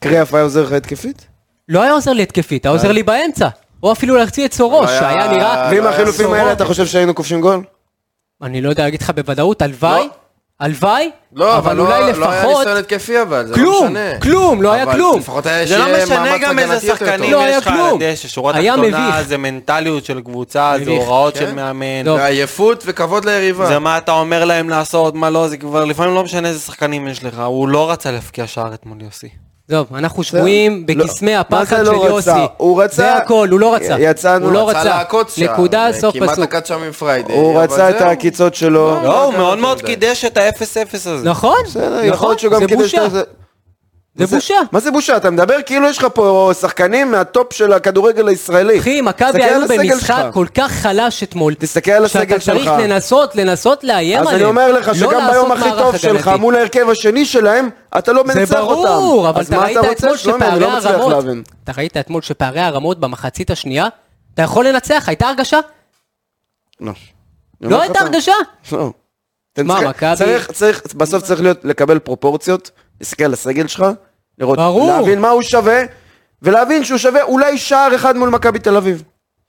S4: קריאף היה עוזר לך התקפית?
S5: לא היה עוזר לי התקפית, היה
S4: אה.
S5: עוזר לי באמצע. או אפילו להחציא את סורוש,
S1: לא היה-
S5: שהיה נראה...
S4: ואם
S1: לא,
S4: החילופים
S5: סורוקה.
S4: האלה, אתה חושב שהיינו כובשים גול?
S5: אני לא יודע להגיד לך בוודאות, הלוואי,
S1: לא.
S5: הלוואי,
S1: לא,
S5: אבל אולי
S1: לא היה
S5: לפחות...
S1: ניסיון התקפי, אבל זה לא
S5: כלום,
S1: משנה.
S5: כלום, לא היה
S1: אבל
S5: כלום.
S1: לפחות היה
S3: זה לא
S1: שיהיה
S3: משנה
S1: מאמץ
S3: גם איזה
S1: הגנתי יותר טוב.
S3: שחקנים
S5: לא היה
S3: יש לך על
S5: כלום.
S3: הדשא, שורה
S5: היה
S3: תחתונה,
S5: מביך.
S3: זה מנטליות של קבוצה, זה
S5: מביך.
S3: הוראות של
S1: כן.
S3: מאמן.
S5: לא.
S1: עייפות וכבוד ליריבה.
S3: זה מה אתה אומר להם לעשות, מה לא, זה כבר לפעמים לא משנה איזה שחקנים יש לך, הוא לא רצה להפקיע שער אתמול יוסי.
S5: טוב, אנחנו שבויים
S4: לא.
S5: בקסמי
S4: מה
S5: הפחד
S4: זה
S5: של
S4: לא רצה?
S5: יוסי.
S4: הוא רצה-
S5: זה הכל, הוא לא רצה.
S4: י- יצאנו,
S5: הוא לא
S1: רצה
S5: רצה.
S1: להכות שם.
S5: נקודה,
S1: זה
S5: סוף
S1: כמעט
S5: פסוק.
S1: נקד שם עם פריידי.
S4: הוא
S1: אבל
S4: רצה את
S1: זהו.
S4: העקיצות שלו.
S3: לא,
S1: לא,
S3: הוא מאוד
S1: לא,
S3: מאוד
S1: לא.
S3: קידש את ה-0-0 הזה.
S5: נכון,
S4: בסדר, יכול
S5: נכון,
S4: להיות שהוא גם
S5: זה
S4: קידש
S5: בושה.
S4: את זה.
S5: זה
S4: זה-
S5: בושה.
S4: מה זה בושה? אתה מדבר כאילו יש לך פה שחקנים מהטופ של הכדורגל הישראלי.
S5: אחי,
S4: תסתכל
S5: מכבי
S4: על
S5: היו
S4: הסגל
S5: במשחק
S4: שלך.
S5: כל כך חלש אתמול.
S4: תסתכל על הסגל
S5: שאתה צריך
S4: שלך.
S5: לנסות, לנסות לאיים
S4: אז
S5: עליהם.
S4: אני אומר לך
S5: לא
S4: שגם
S5: לעשות
S4: ביום הכי
S5: מערך
S4: טוב שלך
S5: הגנתי.
S4: מול ההרכב השני שלהם, אתה לא מנצח
S5: זה
S4: אותם.
S5: ברור, אבל
S4: אז
S5: אתה
S4: מה
S5: ראית
S4: רוצה,
S5: אתמול
S4: שלומי? אני
S5: שפערי
S4: לא מצליח
S5: הרמות,
S4: להבין.
S5: אתה ראית אתמול שפערי הרמות במחצית השנייה, אתה יכול לנצח, הייתה הרגשה?
S4: לא. אני אומר
S5: לא
S4: לך
S5: הייתה
S4: אתה-
S5: הרגשה?
S4: לא. אתם
S5: מה,
S4: צריכים-
S5: מכבי-
S4: צריך, צריך, בסוף צריך להיות, לקבל פרופורציות, להסתכל על הסגל שלך, לראות,
S5: ברור.
S4: להבין מה הוא שווה, ולהבין שהוא שווה אולי שער אחד מול מכבי תל אביב.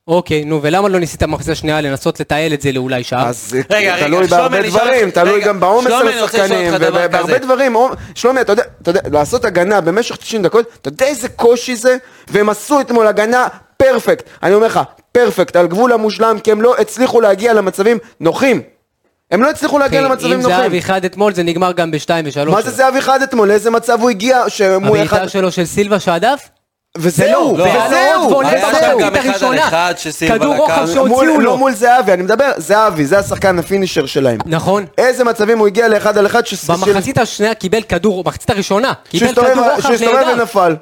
S5: אוקיי, נו, ולמה לא ניסית במחצית השנייה לנסות לתעל את זה לאולי שעה?
S4: אז זה
S3: רגע, רגע,
S4: תלוי
S3: שלומי,
S4: בהרבה
S3: אני אשאל
S4: דברים,
S3: אותך-
S4: תלוי
S3: רגע,
S4: גם בעומס
S3: שלומי,
S4: על
S3: אני רוצה לשאול
S4: השחקנים,
S3: אותך דבר כזה.
S4: ובהרבה דברים, עומ- שלומי, אתה יודע, אתה יודע, לעשות הגנה במשך 90 דקות, אתה יודע איזה קושי זה? והם עשו אתמול הגנה פרפקט, אני אומר לך, פרפקט, על גבול המושלם, כי הם לא הצליחו להגיע למצבים נוחים. הם לא הצליחו להגיע למצבים
S5: אם זה
S4: נוחים.
S5: אבי אחד אתמול, זה נגמר גם בשתיים
S3: לא
S5: ושלוש.
S4: מה זה זה אבי אחד אתמול? לאיזה מצב הוא הגיע? שהוא אחד...
S5: הבעיטה שלו של סילבה שהדף?
S4: וזהו,
S5: ולא, והיה לו עוד
S4: וזהו,
S5: וולה
S3: לא, היה
S5: במחצית
S3: שם
S4: וזהו.
S3: גם אחד על
S5: הראשונה.
S3: אחד שסילבה
S5: כדור רוחב
S3: לקח.
S5: שהוציאו
S4: מול-
S5: לו.
S4: לא מול זהבי, אני מדבר, זהבי, זה השחקן הפינישר שלהם.
S5: נכון.
S4: איזה מצבים הוא הגיע לאחד על אחד שס- אה, של-
S5: במחצית השנייה קיבל כדור, במחצית הראשונה, קיבל
S4: שהסתובב-
S5: כדור רוחב
S4: שהסתובב
S5: נהדר.
S4: ונפל.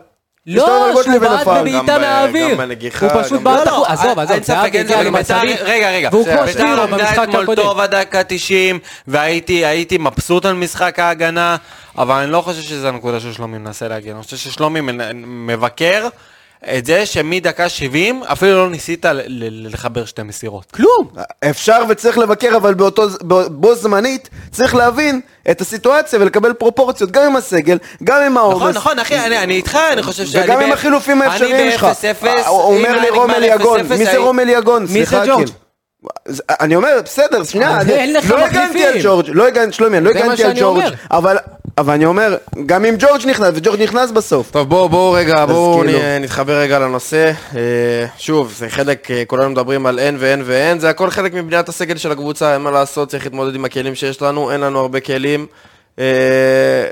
S5: לא,
S4: הסתובב
S5: שהוא
S4: לגוטליב
S5: בעט
S4: ונפל.
S1: גם
S5: בבעיטה
S1: ב-
S5: מהאוויר.
S1: גם בנגיחה,
S5: הוא פשוט
S1: גם ב-
S5: בעט החוצה. עזוב, עזוב,
S3: לא, אין
S5: זה
S3: ספק,
S5: אבי
S3: אין ספק,
S5: הגיע למצבים.
S3: בית"ר- רגע, רגע.
S5: והוא כמו
S3: בית"ר
S5: שטירו
S3: עמדה
S5: במשחק
S3: אתמול
S5: הקודם.
S3: טוב עד דקה 90, והייתי הייתי מבסוט על משחק ההגנה, אבל אני לא חושב שזו הנקודה ששלומי מנסה להגיע. אני חושב ששלומי מנ- מבקר את זה שמדקה 70 אפילו לא ניסית ל- ל- לחבר שתי מסירות.
S5: כלום.
S4: אפשר וצריך לבקר, אבל באותו, ז- בו, בו זמנית צריך להבין את הסיטואציה ולקבל פרופורציות, גם עם הסגל, גם עם העומס.
S3: נכון, נכון, אחי, אני אני איתך, אני חושב שאני...
S4: וגם עם
S3: ב-
S4: החילופים
S3: אני
S4: האפשריים שלך.
S3: ב-0-0,
S4: אה,
S3: אם
S4: אומר
S3: היה
S4: לי
S3: נגמר
S4: רומל יגון,
S3: 0-0,
S4: מי זה
S3: הי-
S4: רומל יגון?
S5: מי זה
S4: סליחה,
S5: ג'ורג'?
S4: כאילו. אז אני אומר, בסדר, שנייה,
S5: אבל
S4: אני-
S5: אין לך
S4: לא
S5: מחליפים.
S4: הגנתי על ג'ורג', לא הגנתי, שלומי, אני לא
S5: זה מה
S4: הגנתי על
S5: שאני
S4: ג'ורג',
S5: אומר.
S4: אבל אבל אני אומר, גם אם ג'ורג' נכנס, וג'ורג' נכנס בסוף.
S1: טוב, בואו בואו רגע, בואו
S4: כאילו-
S1: נ- נתחבר רגע לנושא. אה, שוב, זה חלק, אה, כולנו מדברים על אין ואין ואין, זה הכל חלק מבניית הסגל של הקבוצה, אין מה לעשות, צריך להתמודד עם הכלים שיש לנו, אין לנו הרבה כלים. אה,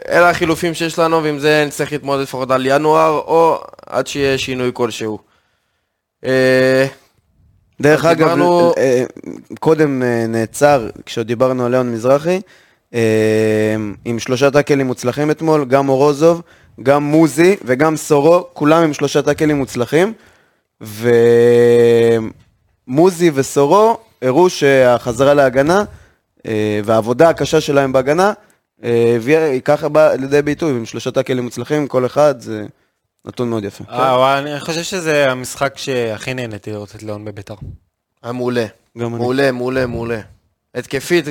S1: אלה החילופים שיש לנו, ועם זה נצטרך להתמודד לפחות על ינואר, או עד שיהיה שינוי כלשהו. אה,
S4: דרך
S1: אז
S4: אגב,
S1: דיברנו-
S4: אה, אה, קודם אה, נעצר, כשדיברנו על ליאון מזרחי, אה, עם שלושה טאקלים מוצלחים אתמול, גם אורוזוב, גם מוזי וגם סורו, כולם עם שלושה טאקלים מוצלחים, ומוזי וסורו הראו שהחזרה להגנה אה, והעבודה הקשה שלהם בהגנה, אה, הביאה- ככה באה לידי ביטוי, עם שלושה טאקלים מוצלחים, כל אחד, זה נתון מאוד יפה.
S3: אה, וואי, אני חושב שזה המשחק שהכי נהניתי לראות את ליאון בביתר.
S1: היה אה, מעולה.
S4: גם אני.
S1: מעולה, מעולה, מעולה. התקפית,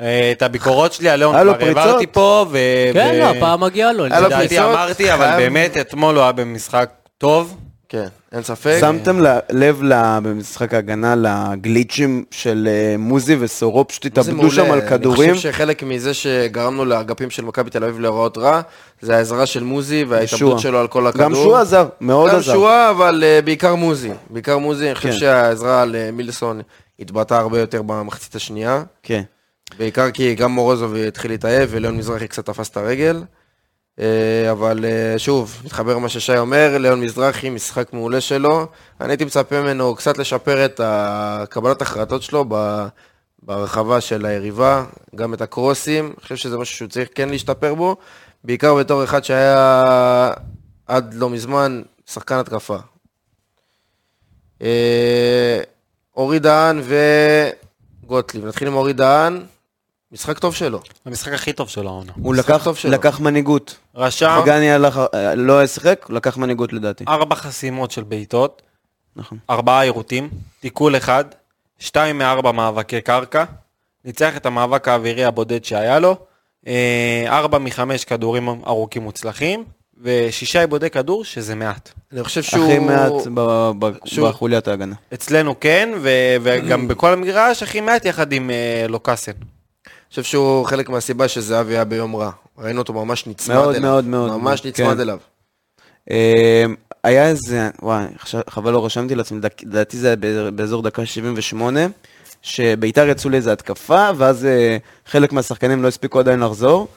S3: אה, את הביקורות שלי על ליאון
S4: היה לו
S3: כבר
S4: פריצות?
S3: העברתי פה, ו...
S5: כן,
S3: ו-
S5: לא, הפעם מגיע לו.
S1: היה לו
S5: לדעתי.
S3: לדעתי
S1: פריצות,
S3: אמרתי, אבל
S1: חייב-
S3: באמת אתמול הוא היה במשחק טוב.
S1: כן, אין ספק.
S4: שמתם ל- לב ל- במשחק ההגנה לגליצ'ים של אה, מוזי וסורו, פשוט
S1: זה
S4: התאבדו שם
S1: מעולה.
S4: על כדורים.
S1: אני חושב שחלק מזה שגרמנו לאגפים של מכבי תל אביב להיראות רע, זה העזרה של מוזי
S4: שועה.
S1: וההתאבדות שלו על כל הכדור.
S4: גם שועה עזר, מאוד
S1: גם
S4: עזר.
S1: שועה, אבל אה, בעיקר מוזי. בעיקר מוזי, אני חושב
S4: כן.
S1: שהעזרה למילסון התבטאה הרבה יותר במחצית השנייה.
S4: כן.
S1: בעיקר כי גם מורוזוב התחיל להתאהב וליאון מזרחי קצת תפס את הרגל. אה, אבל אה, שוב, מתחבר מה ששי אומר, ליאון מזרחי, משחק מעולה שלו. אני הייתי מצפה ממנו קצת לשפר את קבלת ההחלטות שלו ב- ברחבה של היריבה, גם את הקרוסים, אני חושב שזה משהו שהוא צריך כן להשתפר בו, בעיקר בתור אחד שהיה עד לא מזמן שחקן התקפה. אה, אורי דהן וגוטליב, נתחיל עם אורי דהן, משחק טוב שלו.
S3: המשחק הכי טוב של העונה.
S4: הוא
S1: משחק
S4: לקח-
S1: טוב שלו.
S4: לקח מנהיגות.
S3: רשם
S4: גני הלך- אה, לא היה שיחק, הוא לקח מנהיגות לדעתי.
S3: ארבע חסימות של בעיטות,
S4: נכון.
S3: ארבעה עירותים, תיקול אחד, שתיים מארבע מאבקי קרקע, ניצח את המאבק האווירי הבודד שהיה לו, אה, ארבע מחמש כדורים ארוכים מוצלחים, ושישה עיבודי כדור, שזה מעט.
S1: אני חושב שהוא...
S4: הכי מעט ב- ב-
S1: שהוא-
S4: בחוליית ההגנה.
S3: אצלנו כן, ו- וגם בכל המגרש הכי מעט יחד עם אה, לוקאסן.
S1: אני חושב שהוא חלק מהסיבה שזהבי היה ביום רע. ראינו אותו ממש נצמד
S4: מאוד,
S1: אליו.
S4: מאוד, מאוד.
S1: ממש
S4: כן.
S1: נצמד אליו.
S4: אה, היה איזה, וואי, עכשיו- חבל לא רשמתי לעצמי, דק- לדעתי זה היה בא- באזור דקה 78, שביתר יצאו לאיזה התקפה, ואז אה, חלק מהשחקנים לא הספיקו עדיין לחזור,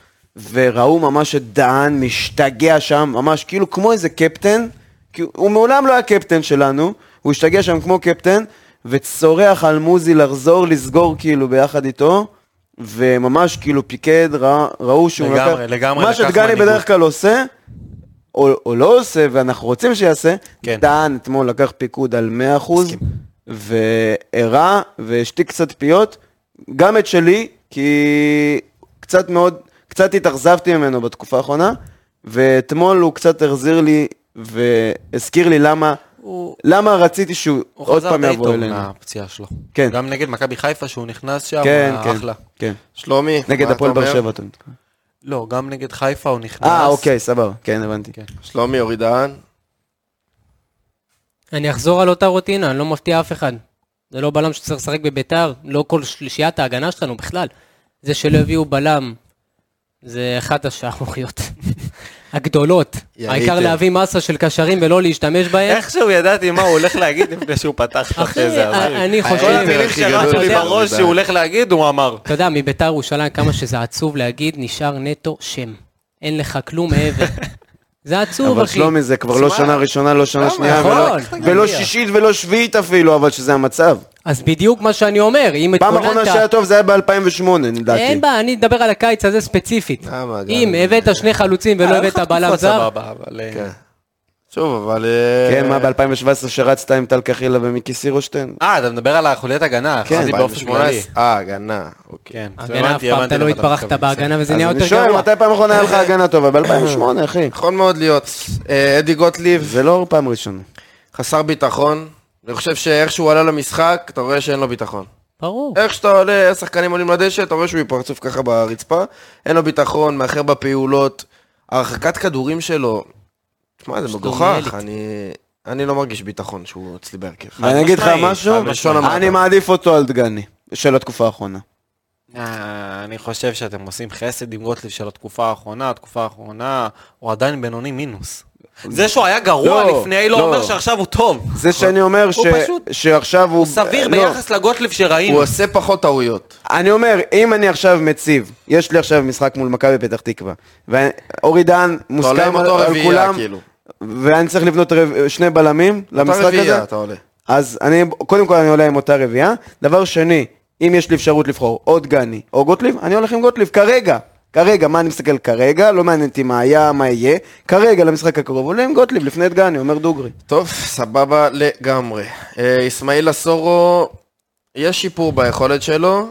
S4: וראו ממש את דהן משתגע שם, ממש כאילו כמו איזה קפטן, כי הוא- הוא מעולם לא היה קפטן שלנו, הוא השתגע שם כמו קפטן, וצורח על מוזי לחזור, לסגור כאילו ביחד איתו. וממש כאילו פיקד, רא, ראו שהוא
S3: לגמרי,
S4: לקח...
S3: לגמרי,
S4: מה
S3: לקח
S4: שדגני
S3: מנהיגות.
S4: בדרך כלל עושה, או, או לא עושה, ואנחנו רוצים שיעשה,
S3: כן.
S4: דן אתמול לקח פיקוד על 100%, והראה והשתיק קצת פיות, גם את שלי, כי קצת מאוד, קצת התאכזבתי ממנו בתקופה האחרונה, ואתמול הוא קצת החזיר לי, והזכיר לי למה,
S3: הוא-
S4: למה רציתי שהוא
S3: הוא
S4: עוד
S3: חזר
S4: פעם
S3: די
S4: יבוא
S3: טוב
S4: אלינו.
S1: אה,
S3: מהפציעה שלו.
S4: כן.
S3: גם נגד מכבי חיפה שהוא נכנס שם,
S4: כן,
S3: הוא היה
S4: כן,
S3: אחלה.
S4: כן.
S1: שלומי,
S4: נגד
S1: אה, מה
S4: הפועל
S1: אתה
S4: באר
S1: אומר?
S4: שבע. אתה מתכוון.
S3: לא, גם נגד חיפה
S4: אוקיי.
S3: הוא נכנס.
S1: כן.
S4: אה, אוקיי, סבבה. כן, הבנתי.
S3: כן.
S1: שלומי, אורי דהן.
S5: אני אחזור על אותה רוטינה, אני לא מפתיע אף אחד. זה לא בלם שצריך לשחק בביתר, לא כל שלישיית ההגנה שלנו בכלל. זה שלא הביאו בלם, זה אחת השערוריות [LAUGHS] הגדולות.
S1: יריתם.
S5: העיקר להביא מסה של קשרים ולא להשתמש בהם.
S3: איכשהו ידעתי מה הוא הולך להגיד לפני שהוא פתח לך
S5: אחי,
S3: את זה. אבל-
S5: אני
S3: כל
S5: חושב...
S3: המילים
S1: הכי גדול
S3: שרצו לי
S1: שלנו,
S3: בראש
S1: זה
S3: שהוא
S1: די.
S3: הולך להגיד, הוא אמר.
S5: אתה יודע, מביתר ירושלים, כמה שזה עצוב להגיד, נשאר נטו שם. אין לך כלום
S4: [LAUGHS]
S5: מעבר. זה עצוב,
S4: אבל
S5: אחי.
S4: שלומי זה כבר לא שנה ראשונה, לא שנה שנייה,
S5: נכון.
S4: ולא-
S5: נכון.
S4: ולא שישית ולא שביעית אפילו, אבל שזה המצב.
S5: אז בדיוק מה שאני אומר, אם
S4: פעם אחרונה שהיה
S5: התכוננת...
S4: טוב זה היה ב-2008, לדעתי.
S5: אין בעיה, אני אדבר על הקיץ הזה ספציפית.
S4: אה,
S1: למה, גם-
S5: אם הבאת שני חלוצים ולא
S3: היה לך
S4: לא
S5: הבאת בלם
S3: תקופה
S5: זר,
S3: סבבה, אבל, אה,
S1: כן. שוב, אבל... אה,
S4: כן, מה, ב-2017 שרצת עם טל קחילה ומיקי סירושטיין?
S3: אה, אתה מדבר על החוליית הגנה,
S4: כן.
S3: חשבתי באופן כללי.
S1: 2018, אה, הגנה, אוקיי.
S3: כן,
S5: הגנה אף פעם אתה לא התברכת בהגנה וזה
S4: אז
S5: נהיה יותר
S4: אני
S5: גרוע.
S4: שואל, מתי פעם אחרונה היה לך הגנה טובה? ב-2008, אחי.
S1: יכול נכון מאוד להיות. אה, אדי גוטליב,
S4: זה לא פעם ראשונה.
S1: חסר ביטחון. אני חושב שאיך שהוא עלה למשחק, אתה רואה שאין לו ביטחון.
S5: ברור.
S1: איך שאתה עולה, השחקנים עולים לדשא, אתה רואה שהוא עם פרצוף ככה ברצפה, אין לו ביטחון, מאחר בפעולות, הרחקת כדורים שלו, תשמע, זה מגוחך,
S5: שטומיאלית.
S1: אני... אני לא מרגיש ביטחון שהוא אצלי בהרכב.
S4: אני אגיד לך
S3: משמעית,
S4: משהו,
S3: חד משמעית.
S4: אני מעדיף אותו על דגני, של התקופה האחרונה.
S3: אה, אני חושב שאתם עושים חסד עם גוטליב של התקופה האחרונה, התקופה האחרונה, הוא עדיין בינוני מינוס. זה שהוא היה גרוע
S4: לא,
S3: לפני, לא
S4: לא.
S3: אומר שעכשיו הוא טוב.
S4: זה שאני אומר ש-
S3: פשוט-
S4: שעכשיו הוא...
S3: הוא סביר
S4: לא.
S3: ביחס לגוטליב שראינו.
S1: הוא עושה פחות טעויות.
S4: אני אומר, אם אני עכשיו מציב, יש לי עכשיו משחק מול מכבי פתח תקווה, ואורי דהן
S1: אתה עולה עם
S4: מוסכם על
S1: אותו
S4: על
S1: רביעייה,
S4: כולם,
S1: כאילו.
S4: ואני צריך לבנות רב- שני בלמים
S1: אותה
S4: למשחק הזה,
S1: רביעייה אתה עולה.
S4: אז אני, קודם כל אני עולה עם אותה רביעייה. דבר שני, אם יש לי אפשרות לבחור או דגני או גוטליב, אני הולך עם גוטליב כרגע. כרגע, מה אני מסתכל כרגע? לא מעניין אותי מה היה, מה יהיה. כרגע, למשחק הקרוב, עולה עם גוטליב לפני דגני, אומר דוגרי.
S1: טוב, סבבה לגמרי. אה, אסמאעיל אסורו, יש שיפור ביכולת שלו.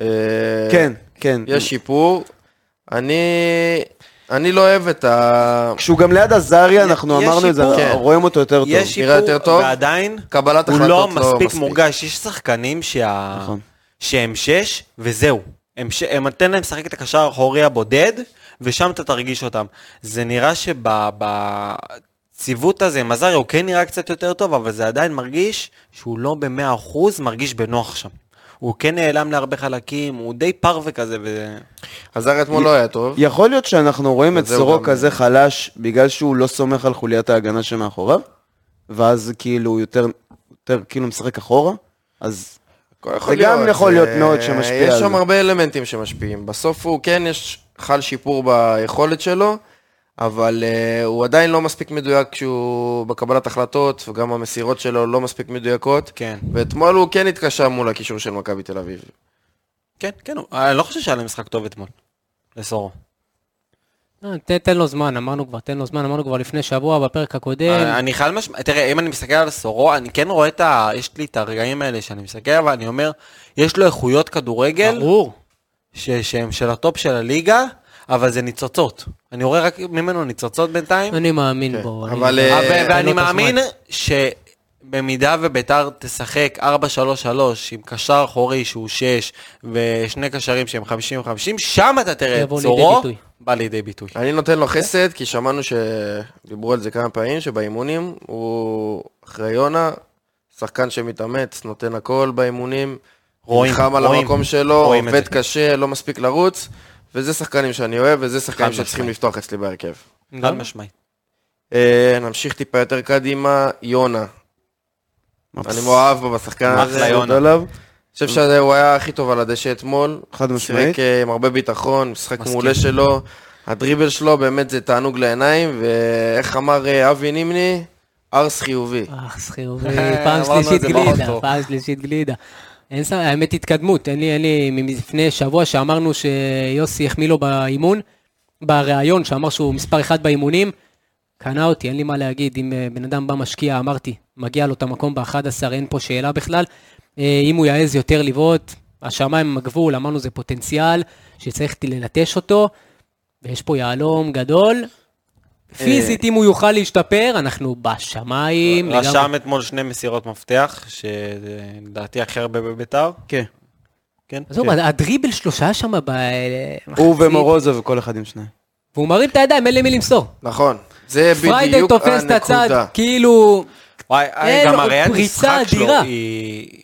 S1: אה,
S4: כן, כן.
S1: יש שיפור. אני... אני לא אוהב את ה...
S4: כשהוא גם ליד עזריה, אנחנו
S3: יש
S4: אמרנו את זה,
S3: שיפור.
S1: כן.
S4: רואים אותו יותר טוב.
S3: יש
S1: נראה יותר
S3: שיפור,
S1: טוב.
S3: ועדיין
S1: קבלת
S3: הוא
S1: החלטות
S3: לא מספיק מורגש. יש שחקנים שה-
S4: נכון.
S3: שהם שש, וזהו. הם ש- הם נותן להם לשחק את הקשר האחורי הבודד, ושם אתה תרגיש אותם. זה נראה שבציוות הזה, מזארי הוא כן נראה קצת יותר טוב, אבל זה עדיין מרגיש שהוא לא במאה אחוז מרגיש בנוח שם. הוא כן נעלם להרבה חלקים, הוא די פרווה כזה, ו...
S1: עזר אתמול לא היה טוב.
S4: יכול להיות שאנחנו רואים את
S1: וזה
S4: סורו
S1: גם- אה,
S4: כזה חלש בגלל שהוא לא סומך על חוליית ההגנה שמאחוריו, ואז כאילו הוא יותר, יותר כאילו משחק אחורה, אז
S1: הכל יכול
S4: זה גם
S1: להיות,
S4: יכול להיות
S1: אה,
S4: מאוד שמשפיע
S1: יש
S4: על
S1: שם
S4: זה.
S1: הרבה אלמנטים שמשפיעים. בסוף הוא כן, יש, חל שיפור ביכולת שלו, אבל uh, הוא עדיין לא מספיק מדויק כשהוא בקבלת החלטות, וגם המסירות שלו לא מספיק מדויקות.
S3: כן.
S1: ואתמול הוא כן התקשה מול הקישור של מכבי תל אביב.
S3: כן, כן, הוא- אני לא חושב שהיה להם משחק טוב אתמול. לסורו.
S5: לא, ת- תן לו זמן, אמרנו כבר, תן לו זמן, אמרנו כבר לפני שבוע בפרק הקודם.
S3: אה, אני חד משמעית, תראה, אם אני מסתכל על סורו, אני כן רואה את ה... יש לי את הרגעים האלה שאני מסתכל, אבל אני אומר, יש לו איכויות כדורגל,
S5: ברור.
S3: ש- שהם של הטופ של הליגה, אבל זה ניצוצות. אני רואה רק ממנו ניצוצות בינתיים,
S5: אני מאמין בו. אני- לא
S1: אבל,
S3: אה,
S1: אה,
S3: ו-
S5: תן לו את
S3: ואני
S5: הזמן.
S3: מאמין שבמידה וביתר תשחק 4-3-3 עם קשר אחורי שהוא 6 ושני קשרים שהם 50-50, שם אתה תראה את
S5: יבוא לידי
S3: סורו,
S5: ביטוי.
S3: בא לידי ביטוי.
S1: אני נותן
S3: כן.
S1: לו חסד, כי שמענו שדיברו על זה כמה פעמים, שבאימונים הוא אחרי יונה, שחקן שמתאמץ, נותן הכל באימונים,
S3: רואים,
S1: נלחם על
S3: רואים,
S1: המקום שלו,
S3: רואים את
S1: עובד
S3: זה.
S1: קשה, לא מספיק לרוץ, וזה שחקנים שאני אוהב, וזה שחקנים
S3: חד
S1: שצריכים
S3: משמעית.
S1: לפתוח אצלי בהרכב.
S5: לא?
S3: חד משמעית.
S1: אה, נמשיך טיפה יותר קדימה, יונה. אני מאוהב בו בשחקן
S3: אחלה
S1: הזה.
S3: יונה.
S4: יונה. עליו,
S1: אני חושב שהוא היה הכי טוב על הדשא אתמול.
S4: חד משמעית.
S1: שיחק אה, עם הרבה ביטחון, משחק
S3: מסכים.
S1: מעולה שלו. הדריבל שלו באמת זה תענוג לעיניים, ואיך אמר אה, אבי נימני? ארס חיובי.
S5: אה,
S3: [LAUGHS]
S5: אז חיובי,
S3: אמרנו
S5: פעם
S3: את
S5: שלישית
S3: זה פחות
S5: גלידה,
S3: טוב.
S5: פעם שלישית גלידה. אין ספק, האמת התקדמות, אין לי, אין לי, מלפני שבוע שאמרנו שיוסי החמיא לו באימון, בריאיון, שאמר שהוא מספר אחד באימונים, קנה אותי, אין לי מה להגיד, אם אה, בן אדם בא משקיע, אמרתי, מגיע לו את המקום ב-11, אין פה שאלה בכלל. אה, אם הוא יעז יותר לבעוט, השמיים הם הגבול, אמרנו זה פוטנציאל שצריך ללטש אותו, ויש פה יהלום גדול. פיזית, אם הוא יוכל להשתפר, אנחנו בשמיים. לגמרי.
S3: רשם אתמול שני מסירות מפתח, שלדעתי הכי הרבה בביתר.
S4: כן.
S3: כן.
S5: עזוב, הדריבל שלו שהיה שם במחצית.
S4: הוא ומורוזוב וכל אחד עם שניים.
S5: והוא מרים את הידיים, אין למי למסור.
S1: נכון. זה
S5: פריידי
S1: בדיוק
S5: תופס את הצד,
S1: הנקודה.
S5: כאילו...
S3: וואי,
S5: אין,
S3: גם
S5: עוד
S3: הראיית
S5: פריצה
S3: משחק שלו
S5: אדירה.
S3: היא...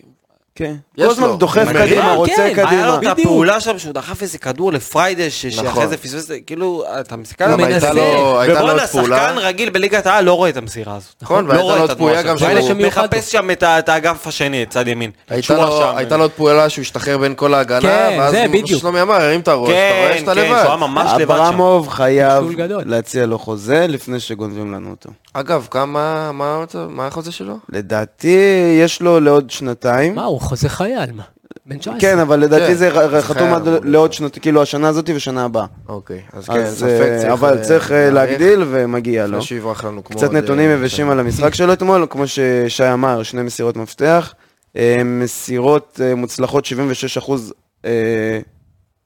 S4: כן.
S1: יש
S4: כל הזמן
S1: לו.
S4: דוחף
S1: מניע.
S4: קדימה, רוצה
S5: כן,
S3: היה לו
S4: קדימה.
S3: את הפעולה שם שהוא דחף איזה כדור לפריידי, ש- שאחרי
S1: נכון.
S3: זה פספס, את זה, כאילו, אתה מסתכל
S5: הוא
S1: גם
S3: עליו,
S1: הייתה
S5: מנסה.
S1: לו הייתה לו עוד
S3: ובואנה,
S1: פעולה.
S3: שחקן רגיל בליגת העל לא רואה את המסירה הזאת.
S1: נכון,
S3: לא
S1: והייתה
S3: רואה
S1: לו
S3: את
S1: עוד פעולה
S3: התנועה
S1: גם
S3: שלו.
S1: שהוא-
S3: הוא
S5: שמיוחד לו.
S3: מחפש שם את ה- את האגף השני, את צד ימין.
S1: הייתה
S3: שהוא
S1: לו-
S3: עכשיו-
S1: הייתה לו עוד פעולה שהוא השתחרר בין כל ההגנה,
S5: כן,
S1: ואז
S5: זה,
S1: כמו
S5: בדיוק.
S1: ששלומי אמר, הרים את הראש, אתה רואה
S3: כן,
S1: שאתה
S3: כן, שהוא היה
S1: לבד.
S3: ממש לבד שם.
S4: אברמוב חייב
S5: ניצול גדול.
S4: להציע לו חוזה לפני שגונבים לנו אותו.
S1: אגב, כמה, מה מה החוזה שלו?
S4: לדעתי, יש לו לעוד שנתיים.
S5: מה, הוא חוזה חייל, מה? בן 19.
S4: כן, אבל לדעתי
S1: כן.
S4: זה ר-
S1: זה
S4: חתום
S1: חייב
S4: עד
S1: להיות.
S4: לעוד שנתיים, כאילו השנה הזאת ושנה הבאה.
S1: אוקיי, אז כן,
S4: אז,
S1: ספק
S4: אה,
S1: צריך...
S4: אבל
S1: אה,
S4: צריך אה,
S1: להעריך,
S4: להגדיל ומגיע לו.
S1: לפני שיברח לנו כמו...
S4: קצת
S1: עוד,
S4: נתונים
S1: אה,
S4: יבשים על המשחק שלו אתמול, כמו ששי אמר, שני מסירות מפתח. אה, מסירות אה, מוצלחות, 76 אחוז אה,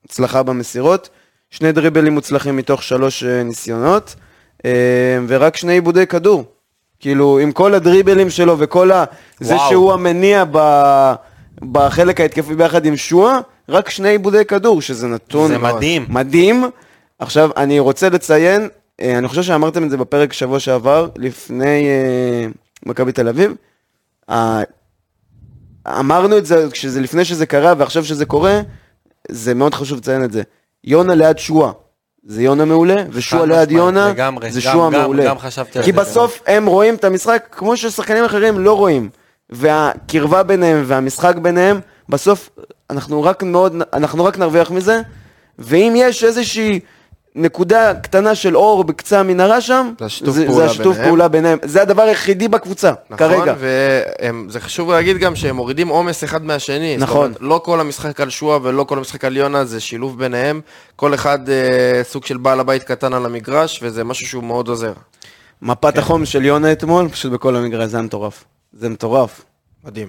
S4: הצלחה במסירות. שני דריבלים מוצלחים מתוך שלוש אה, ניסיונות, אה, ורק שני עיבודי כדור. כאילו, עם כל הדריבלים שלו וכל ה... זה
S3: וואו.
S4: שהוא המניע ב... בחלק ההתקפי ביחד עם שואה, רק שני עיבודי כדור, שזה נתון...
S3: זה מדהים.
S4: מדהים. עכשיו, אני רוצה לציין, אה, אני חושב שאמרתם את זה בפרק שבוע שעבר, לפני אה, מכבי תל אביב. אה, אמרנו את זה כשזה לפני שזה קרה, ועכשיו שזה קורה, זה מאוד חשוב לציין את זה. יונה ליד שואה. זה יונה מעולה, ושועה
S3: חד
S4: ליד
S3: משמעית,
S4: יונה,
S3: לגמרי.
S4: זה
S3: גם-
S4: שועה
S3: גם-
S4: מעולה.
S3: גם חשבתי על
S4: כי
S3: זה, כן.
S4: בסוף הם רואים את המשחק כמו ששחקנים אחרים לא רואים. והקרבה ביניהם והמשחק ביניהם, בסוף אנחנו רק מאוד, אנחנו רק נרוויח מזה. ואם יש איזושהי נקודה קטנה של אור בקצה המנהרה שם,
S1: זה השיתוף
S4: זה,
S1: פעולה
S4: זה השיתוף
S1: ביניהם.
S4: פעולה ביניהם. זה הדבר היחידי בקבוצה,
S1: נכון,
S4: כרגע.
S1: וזה חשוב להגיד גם שהם מורידים עומס אחד מהשני. זאת
S4: נכון.
S1: אומרת, לא כל המשחק על שועה ולא כל המשחק על יונה, זה שילוב ביניהם. כל אחד אה, סוג של בעל הבית קטן על המגרש, וזה משהו שהוא מאוד עוזר.
S4: מפת
S1: כן.
S4: החום של יונה אתמול, פשוט בכל המגרש, זה היה מטורף. זה מטורף.
S1: מדהים.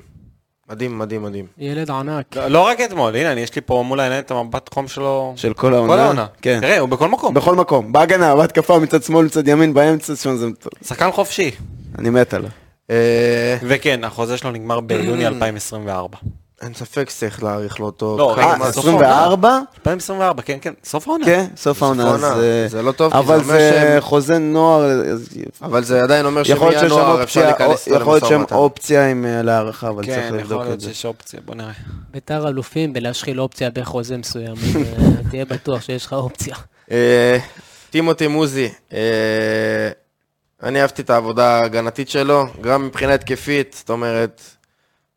S1: מדהים, מדהים, מדהים.
S5: ילד ענק.
S3: לא- לא רק אתמול, הנה, אני- יש לי פה מול העיניים את המבט חום שלו.
S1: נכון.
S4: של כל העונה.
S3: כל העונה.
S4: כן.
S3: תראה, הוא בכל מקום.
S4: בכל מקום. בהגנה, בהתקפה, מצד שמאל, מצד ימין, באמצע, שם זה... מטורף.
S3: שחקן חופשי.
S4: אני מת עליו.
S1: אה,
S3: וכן, החוזה שלו נגמר [CLEARS THROAT] ביוני 2024.
S1: אין ספק שצריך להעריך לו אותו.
S3: לא,
S1: כמה-
S3: רגע,
S4: אה,
S3: מה, סוף
S4: 24?
S3: 2024, כן, כן, סוף העונה.
S4: כן, סוף העונה.
S1: העונה.
S4: אז, אה,
S1: זה לא טוב, כי זה
S4: אבל
S1: אומר
S4: זה
S1: שהם-
S4: חוזה נוער, אז
S1: אבל זה עדיין אומר
S4: יכול להיות שיש שם
S1: שמינואר אפשר
S4: אופציה,
S1: להיכנס
S4: או-
S1: איתו
S4: יכול להיות
S1: למשא
S4: שם
S1: ומתן.
S4: אופציה עם אה, להערכה, אבל
S3: כן,
S4: צריך
S3: יכול
S4: לבדוק
S3: להיות
S4: את זה.
S3: שיש אופציה, בוא נראה.
S5: ביתר אלופים בלהשחיל אופציה בחוזה מסוים. אז, אה, תהיה בטוח שיש לך אופציה.
S1: אה, טימותי מוזי, אה, אני אהבתי את העבודה ההגנתית שלו, גם מבחינה התקפית, זאת אומרת,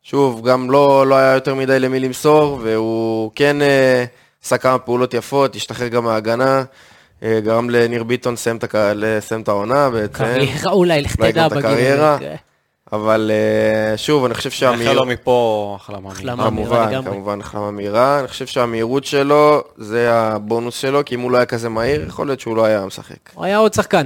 S1: שוב, גם לא, לא היה יותר מדי למי למסור, והוא כן אה, עשה כמה פעולות יפות, השתחרר גם מההגנה, אה, גרם לניר ביטון לסיים את הקה- לסיים את העונה בעצם,
S5: קריירה אולי, לך
S1: אולי גם
S5: תדע כן.
S1: את
S5: בגיל.
S1: הקריירה.
S5: הזה.
S1: אבל אה, שוב, אני חושב
S3: נאחל לו
S1: שהמהירות...
S3: מפה החלמה.
S5: החלמה. מהירה
S1: כמובן,
S5: לגמרי.
S1: כמובן, החלמה מהירה, אני חושב שהמהירות שלו זה הבונוס שלו, כי אם הוא לא היה כזה מהיר, יכול להיות שהוא לא היה משחק.
S5: הוא היה עוד שחקן.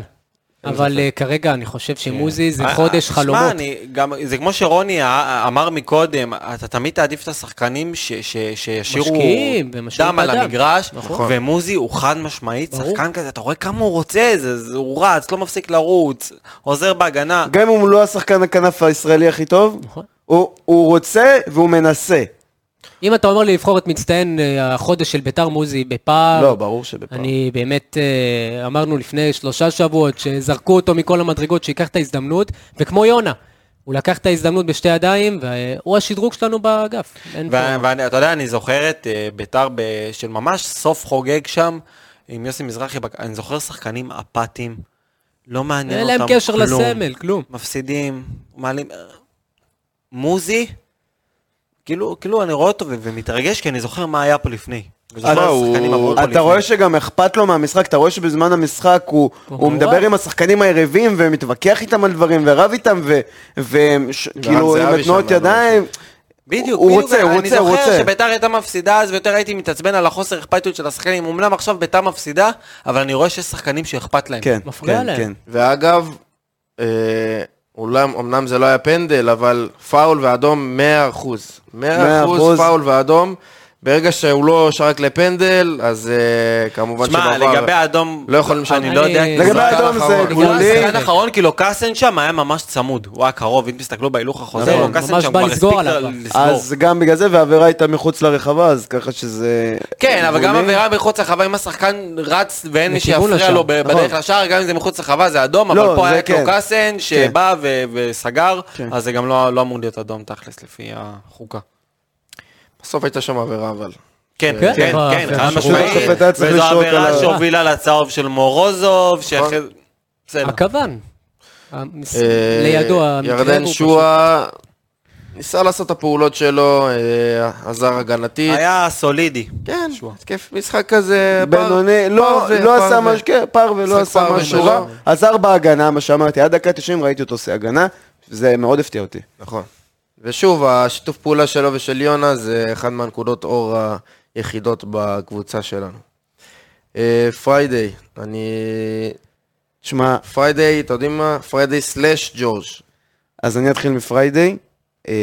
S5: אבל אה, כרגע אני חושב שמוזי זה
S3: אה, אה,
S5: חודש
S3: תשמע,
S5: חלומות.
S3: אני גם- זה כמו שרוני אה, אמר מקודם, אתה תמיד תעדיף את השחקנים ש- ש- שישאירו
S5: משקיעים, ומשאירים
S3: דם על
S5: את הדם.
S3: המגרש,
S5: נכון.
S3: ומוזי הוא חד משמעית,
S5: ברור.
S3: שחקן כזה, אתה רואה כמה הוא רוצה, זה- זה- הוא רץ, לא מפסיק לרוץ, עוזר בהגנה.
S4: גם אם הוא לא השחקן הכנף הישראלי הכי טוב,
S5: נכון.
S4: הוא הוא רוצה והוא מנסה.
S5: אם אתה אומר לי לבחור את מצטיין אה, החודש של ביתר מוזי בפער,
S4: לא, ברור שבפעם.
S5: אני באמת, אה, אמרנו לפני שלושה שבועות שזרקו אותו מכל המדרגות, שייקח את ההזדמנות, וכמו יונה, הוא לקח את ההזדמנות בשתי ידיים, והוא השדרוג שלנו באגף. אין פה-
S3: ואתה יודע, אני זוכר את אה, ביתר ב- של ממש סוף חוגג שם, עם יוסי מזרחי, בק- אני זוכר שחקנים אפאתיים, לא מעניין
S5: אין
S3: אותם
S5: להם
S3: כלום.
S5: קשר לסמל, כלום.
S3: מפסידים, מעלים... אה, מוזי, כאילו, כאילו אני רואה אותו ו- ומתרגש, כי אני זוכר מה היה פה לפני. וזוכר
S4: אתה-
S3: שהשחקנים עברו פה
S4: אתה
S3: לפני.
S4: רואה שגם אכפת לו מהמשחק, אתה רואה שבזמן המשחק הוא, הוא
S5: וואו.
S4: מדבר עם השחקנים היריבים ומתווכח איתם על דברים ורב איתם וכאילו
S1: זהבי
S4: עם תנועות
S1: שם, אני
S4: ידיים.
S3: בדיוק,
S4: הוא
S3: בדיוק,
S4: רוצה, הוא רוצה,
S3: אני
S4: הוא
S3: זוכר
S4: רוצה.
S3: שביתר הייתה מפסידה אז, ויותר הייתי מתעצבן על החוסר אכפתיות של השחקנים. אמנם עכשיו ביתר מפסידה, אבל אני רואה שיש שחקנים שאכפת להם.
S4: כן,
S5: מפריע
S4: כן,
S5: להם.
S4: כן.
S1: ואגב, אה, אולם, אמנם זה לא היה פנדל, אבל פאול ואדום 100%. 100%, 100%
S4: אחוז.
S1: פאול ואדום, ברגע שהוא לא שרק לפנדל, אז אה, כמובן
S3: שמע,
S1: שבעבר...
S3: לגבי האדום,
S1: לא יכולים לשנות.
S3: אני לא יודע, כי
S5: אני-
S4: לגבי
S3: זה היה
S4: האדום
S1: האחרון.
S4: זה
S1: בגלל
S4: גבולי.
S3: השחקן האחרון, כאילו קאסן שם היה ממש צמוד, הוא היה קרוב, אם תסתכלו בהילוך החוזר,
S5: נכון,
S3: לא קאסן
S5: ממש
S3: שם
S5: בא
S3: כבר
S5: לסגור
S3: הספיק
S5: עליו.
S3: ל- לסגור.
S4: אז גם בגלל זה, והעבירה הייתה מחוץ לרחבה, אז ככה שזה...
S3: כן, אבל גם
S4: גבולי.
S3: עבירה מחוץ לחווה, אם השחקן רץ ואין מי
S5: לכיוון
S3: שיפריע
S5: לשער,
S3: לו ב- בדרך לשער, גם אם זה מחוץ לחווה זה אדום, אבל
S4: נכון. לא,
S3: פה
S4: זה
S3: היה את לו
S4: כן.
S3: קאסן שבא ו- וסגר,
S4: כן.
S3: אז זה גם לא לא אמור להיות אדום תכלס, לפי החוקה.
S1: בסוף הייתה שם עבירה, אבל...
S3: כן,
S5: כן,
S3: כן, כן,
S4: אה,
S5: אבל-
S3: כן,
S5: אבל-
S3: חד
S5: אבל-
S3: משמעית,
S4: השופט היה צריך
S3: וזו
S4: לשרוק
S3: עבירה
S4: על ה- נכון.
S3: שהובילה לצהוב של מורוזוב, שאחרי... בסדר.
S5: הכוון. המס-
S1: אה,
S5: לידו המקרה
S1: ירדן
S5: הוא
S1: שועה ניסה לעשות את הפעולות שלו, אה, עזר הגנתית.
S3: היה סולידי.
S1: כן, התקף משחק כזה... פער-
S4: בינוני, לא
S1: פער ו-
S4: לא
S1: פער
S4: עשה
S1: ו-
S4: משהו, כן, פר ולא
S1: משחק
S4: עשה
S1: פר
S4: משהו
S1: ולא.
S3: לא.
S4: רע. עזר בהגנה, מה שאמרתי, עד דקה 90 ראיתי אותו עושה הגנה, זה מאוד הפתיע אותי.
S1: נכון. ושוב, השיתוף פעולה שלו ושל יונה זה אחד מהנקודות אור היחידות בקבוצה שלנו. אה, פריידיי, אני...
S4: שמע,
S1: פריידיי, אתה יודעים מה? פריידיי סלאש ג'ורג'.
S4: אז אני אתחיל מפריידי. אה,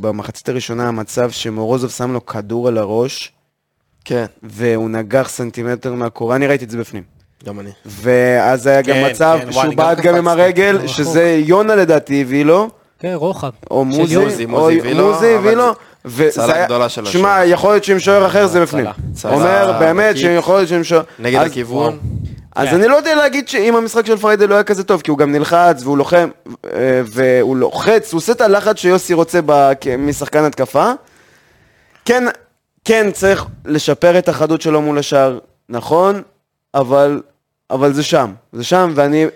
S4: במחצית הראשונה המצב שמורוזוב שם לו כדור על הראש,
S1: כן,
S4: והוא נגח סנטימטר מהקורה, אני ראיתי את זה בפנים.
S1: גם אני.
S4: ואז היה גם
S3: כן,
S4: מצב
S3: כן, וואי,
S4: שהוא
S3: אני גם
S4: בעט גם עם
S3: קפצתי. [LAUGHS]
S4: הרגל, שזה יונה לדעתי הביא לו,
S5: כן, רוחב.
S4: או מוזי,
S1: יוזי,
S4: או
S1: מוזי הביא לו,
S4: מוזי הביא
S1: אבל
S4: לו.
S1: זה-
S4: וזה
S1: הצלה
S4: היה-
S1: גדולה שלו,
S4: שמע, יכול להיות שעם שוער אחר זה בפנים.
S1: הצלה.
S4: אומר
S1: הצלה
S4: באמת
S1: ענקית.
S4: שיכול להיות שעם שוער...
S1: נגד
S4: אז-
S1: הכיוון.
S4: אז אני לא יודע להגיד שאם המשחק של פריידי לא היה כזה טוב, כי הוא גם נלחץ והוא לוחם, אה, והוא לוחץ, הוא עושה את הלחץ שיוסי רוצה ב- כ- משחקן התקפה. כן, כן צריך לשפר את החדות שלו מול השאר, נכון, אבל, אבל זה שם, זה שם, ואני...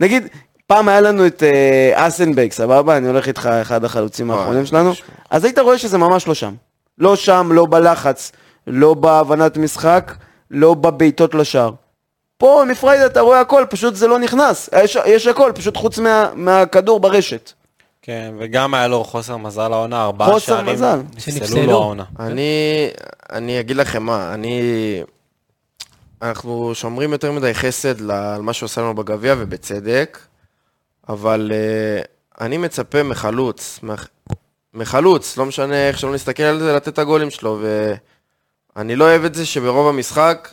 S4: נגיד, פעם היה לנו את אה, אסנבייק, סבבה? אני הולך איתך, אחד החלוצים
S1: וואי,
S4: האחרונים שלנו,
S1: שמע.
S4: אז היית רואה שזה ממש לא שם. לא שם, לא בלחץ, לא בהבנת משחק, לא בבעיטות לשער. פה מפריידה אתה רואה הכל, פשוט זה לא נכנס. יש, יש הכל, פשוט חוץ מה, מהכדור ברשת.
S3: כן, וגם היה לו חוסר מזל העונה, ארבעה
S4: חוסר
S3: שערים
S4: מזל.
S5: שנפסלו.
S3: נפסלו לו העונה.
S1: אני, אני אגיד לכם מה, אני... אנחנו שומרים יותר מדי חסד ל- על מה שעושה לנו בגביע, ובצדק, אבל אה, אני מצפה מחלוץ, מח- מחלוץ, לא משנה איך שלא נסתכל על זה, לתת את הגולים שלו, ואני לא אוהב את זה שברוב המשחק,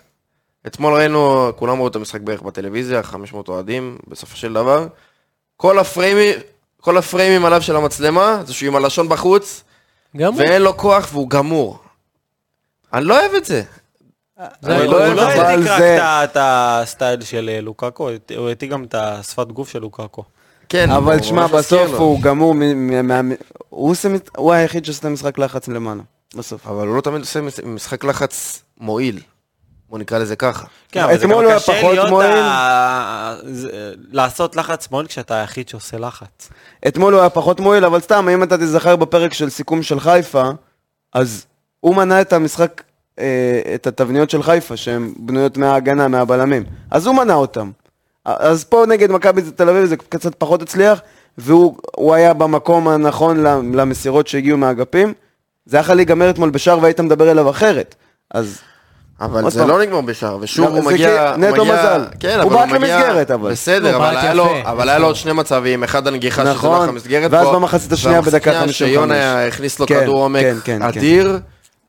S1: אתמול ראינו, כולם ראו את המשחק בערך בטלוויזיה, 500 אוהדים, בסופו של דבר, כל הפריימים, כל הפריימים עליו של המצלמה, זה שהוא עם הלשון בחוץ,
S5: גם הוא.
S1: ואין לו כוח והוא גמור. אני לא אוהב את זה. אני
S5: זה הכל.
S1: לא
S3: הוא
S1: אוהב
S3: לא
S1: אבל
S3: העתיק רק
S4: זה-
S3: את ה- את הסטייל של אה, לוקאקו, הוא העתיק גם את השפת גוף של לוקאקו.
S1: כן,
S4: אבל
S1: הוא
S4: שמע,
S1: ממש מזכיר
S4: בסוף
S1: לו.
S4: הוא גמור, מ- מ- מה- הוא עושה מ- הוא היחיד שעושה את המשחק לחץ למעלה, בסוף.
S1: אבל הוא לא תמיד עושה מש- משחק לחץ מועיל. בוא נקרא לזה ככה.
S3: כן, אבל זה גם
S4: אתמול הוא היה
S3: קשה
S4: פחות
S3: להיות
S4: מועיל.
S3: ה- זה- אה, לעשות לחץ מועיל כשאתה היחיד שעושה לחץ.
S4: אתמול הוא היה פחות מועיל, אבל סתם, אם אתה תיזכר בפרק של סיכום של חיפה, אז הוא מנע את המשחק, אה, את התבניות של חיפה, שהן בנויות מההגנה, מהבלמים. אז הוא מנע אותם. אז פה נגד מכבי זה תל אביב זה קצת פחות הצליח, והוא הוא היה במקום הנכון ל- למסירות שהגיעו מהאגפים. זה היה יכול להיגמר אתמול בשער והיית מדבר אליו אחרת. אז
S1: אבל
S4: עוד
S1: זה
S4: פעם.
S1: לא נגמר בשער, ושוב
S4: גם
S1: הוא
S4: זה
S1: מגיע...
S4: כי- נטו
S1: הוא מגיע-
S4: מזל.
S1: כן,
S4: הוא
S1: אבל
S4: בעט
S1: הוא מגיע...
S4: למסגרת, אבל.
S1: בסדר,
S5: הוא
S1: אבל נכון.
S5: בעט
S1: היה לו-
S5: יפה.
S1: אבל היה לו עוד שני מצבים, אחד הנגיחה שזה
S4: נכון,
S1: הלך למסגרת.
S4: ואז
S1: פה,
S4: במחצית השנייה בדקה
S1: והמחצית השנייה
S4: 55.
S1: שיונה הכניס לו
S4: כן,
S1: כדור עומק
S4: כן, כן, כן.
S1: אדיר,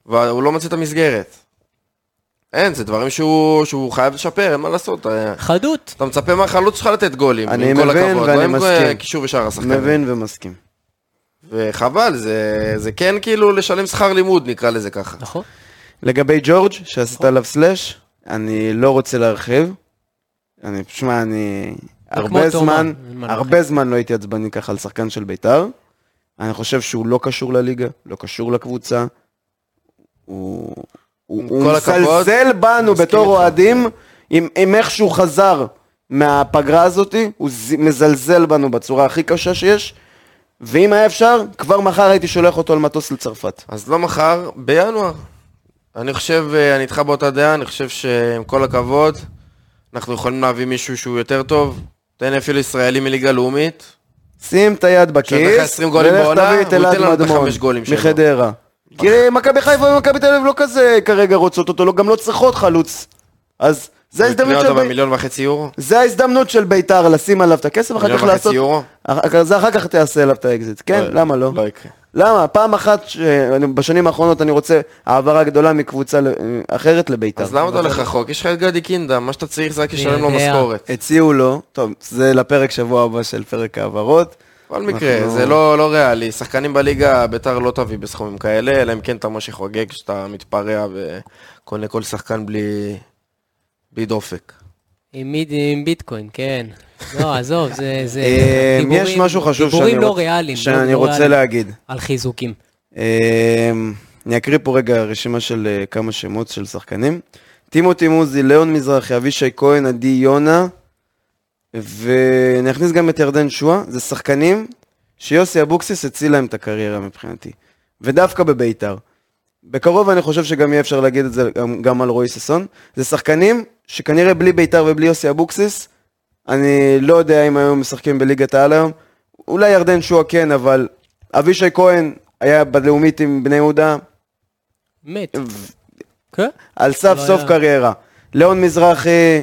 S1: והוא לא מצא את המסגרת. אין, זה דברים שהוא שהוא חייב לשפר, אין מה לעשות. אה,
S5: חדות.
S1: אתה מצפה מהחלוץ שלך לתת גולים,
S4: אני
S1: עם כל
S4: מבין
S1: הכבוד,
S4: ואני
S1: לא עם
S4: מסכים.
S1: קישור ושאר השחקנים.
S4: מבין ומסכים.
S1: וחבל, זה, זה כן כאילו לשלם שכר לימוד, נקרא לזה ככה.
S5: נכון.
S4: לגבי ג'ורג', שעשית עליו סלאש, אני לא רוצה להרחיב. אני, שמע, אני...
S5: כמו
S4: הרבה
S5: תומה,
S4: זמן,
S5: אין מה
S4: הרבה זמן לא הייתי עצבני ככה על שחקן של בית"ר. אני חושב שהוא לא קשור לליגה, לא קשור לקבוצה. הוא, הוא,
S1: עם
S4: הוא
S1: כל הכבוד,
S4: מזלזל בנו
S1: מסכים
S4: בתור
S1: איתך.
S4: אוהדים, עם, עם איך שהוא חזר מהפגרה הזאתי, הוא ז, מזלזל בנו בצורה הכי קשה שיש. ואם היה אפשר, כבר מחר הייתי שולח אותו על מטוס לצרפת.
S1: אז לא מחר, בינואר. אני חושב, אה, אני איתך באותה דעה, אני חושב שעם כל הכבוד, אנחנו יכולים להביא מישהו שהוא יותר טוב. תן לי אפילו ישראלי מליגה לאומית.
S4: שים את היד
S1: שנתן לך
S4: בכיס,
S1: 20 גולים
S4: ולך
S1: בעונה,
S4: תביא את
S1: הוא
S4: אלעד
S1: ייתן לנו את
S4: מדמון,
S1: החמש גולים שלו.
S4: מחדרה. כי מכבי חיפה ומכבי תל אביב לא כזה כרגע רוצות אותו, לא, גם לא צריכות חלוץ. אז זה ההזדמנות
S1: נקנה
S4: של
S1: אותו
S4: בית"ר,
S1: במיליון וחצי יורו.
S4: זה ההזדמנות של בית"ר לשים עליו את הכסף, אחר
S1: מיליון
S4: כך
S1: וחצי
S4: לעשות,
S1: יורו.
S4: אח- זה אחר כך תעשה עליו את האקזיט, כן? למה לא?
S1: לא יקרה.
S4: למה? פעם אחת, ש... בשנים האחרונות אני רוצה העברה גדולה מקבוצה ל- אחרת לביתר.
S1: אז למה אתה הולך רחוק? יש לך את גדי קינדה, מה שאתה צריך זה רק לשלם לו
S5: אני יודע.
S1: משכורת.
S4: הציעו לו, טוב, זה לפרק שבוע הבא של פרק ההעברות.
S1: בכל מקרה,
S4: אנחנו-
S1: זה לא לא ריאלי. שחקנים בליגה, ביתר לא תביא בסכומים כאלה, אלא אם כן אתה משה חוגג, שאתה מתפרע וקונה כל שחקן בלי בלי דופק.
S5: עם, מיד, עם ביטקוין, כן. לא, עזוב, זה... זה
S4: אה,
S5: דיבורים-
S4: יש משהו חשוב שאני
S5: דיבורים לא
S4: רוצ-
S5: ריאליים. לא
S4: שאני רוצה
S5: ריאליים
S4: להגיד.
S5: על חיזוקים.
S4: אמ, אני אקריא פה רגע רשימה של אה, כמה שמות של שחקנים. טימותי מוזי, ליאון מזרחי, אבישי כהן, עדי יונה, ואני אכניס גם את ירדן שואה. זה שחקנים שיוסי אבוקסיס הציל להם את הקריירה מבחינתי. ודווקא בביתר. בקרוב אני חושב שגם יהיה אפשר להגיד את זה גם, גם על רועי ששון. זה שחקנים שכנראה בלי ביתר ובלי יוסי אבוקסיס, אני לא יודע אם היו משחקים בליגת העל היום. אולי ירדן שואה כן, אבל אבישי כהן היה בלאומית עם בני יהודה,
S5: מת.
S4: ו-
S5: כן?
S4: על סף
S5: לא
S4: סוף
S5: היה.
S4: קריירה. ליאון מזרחי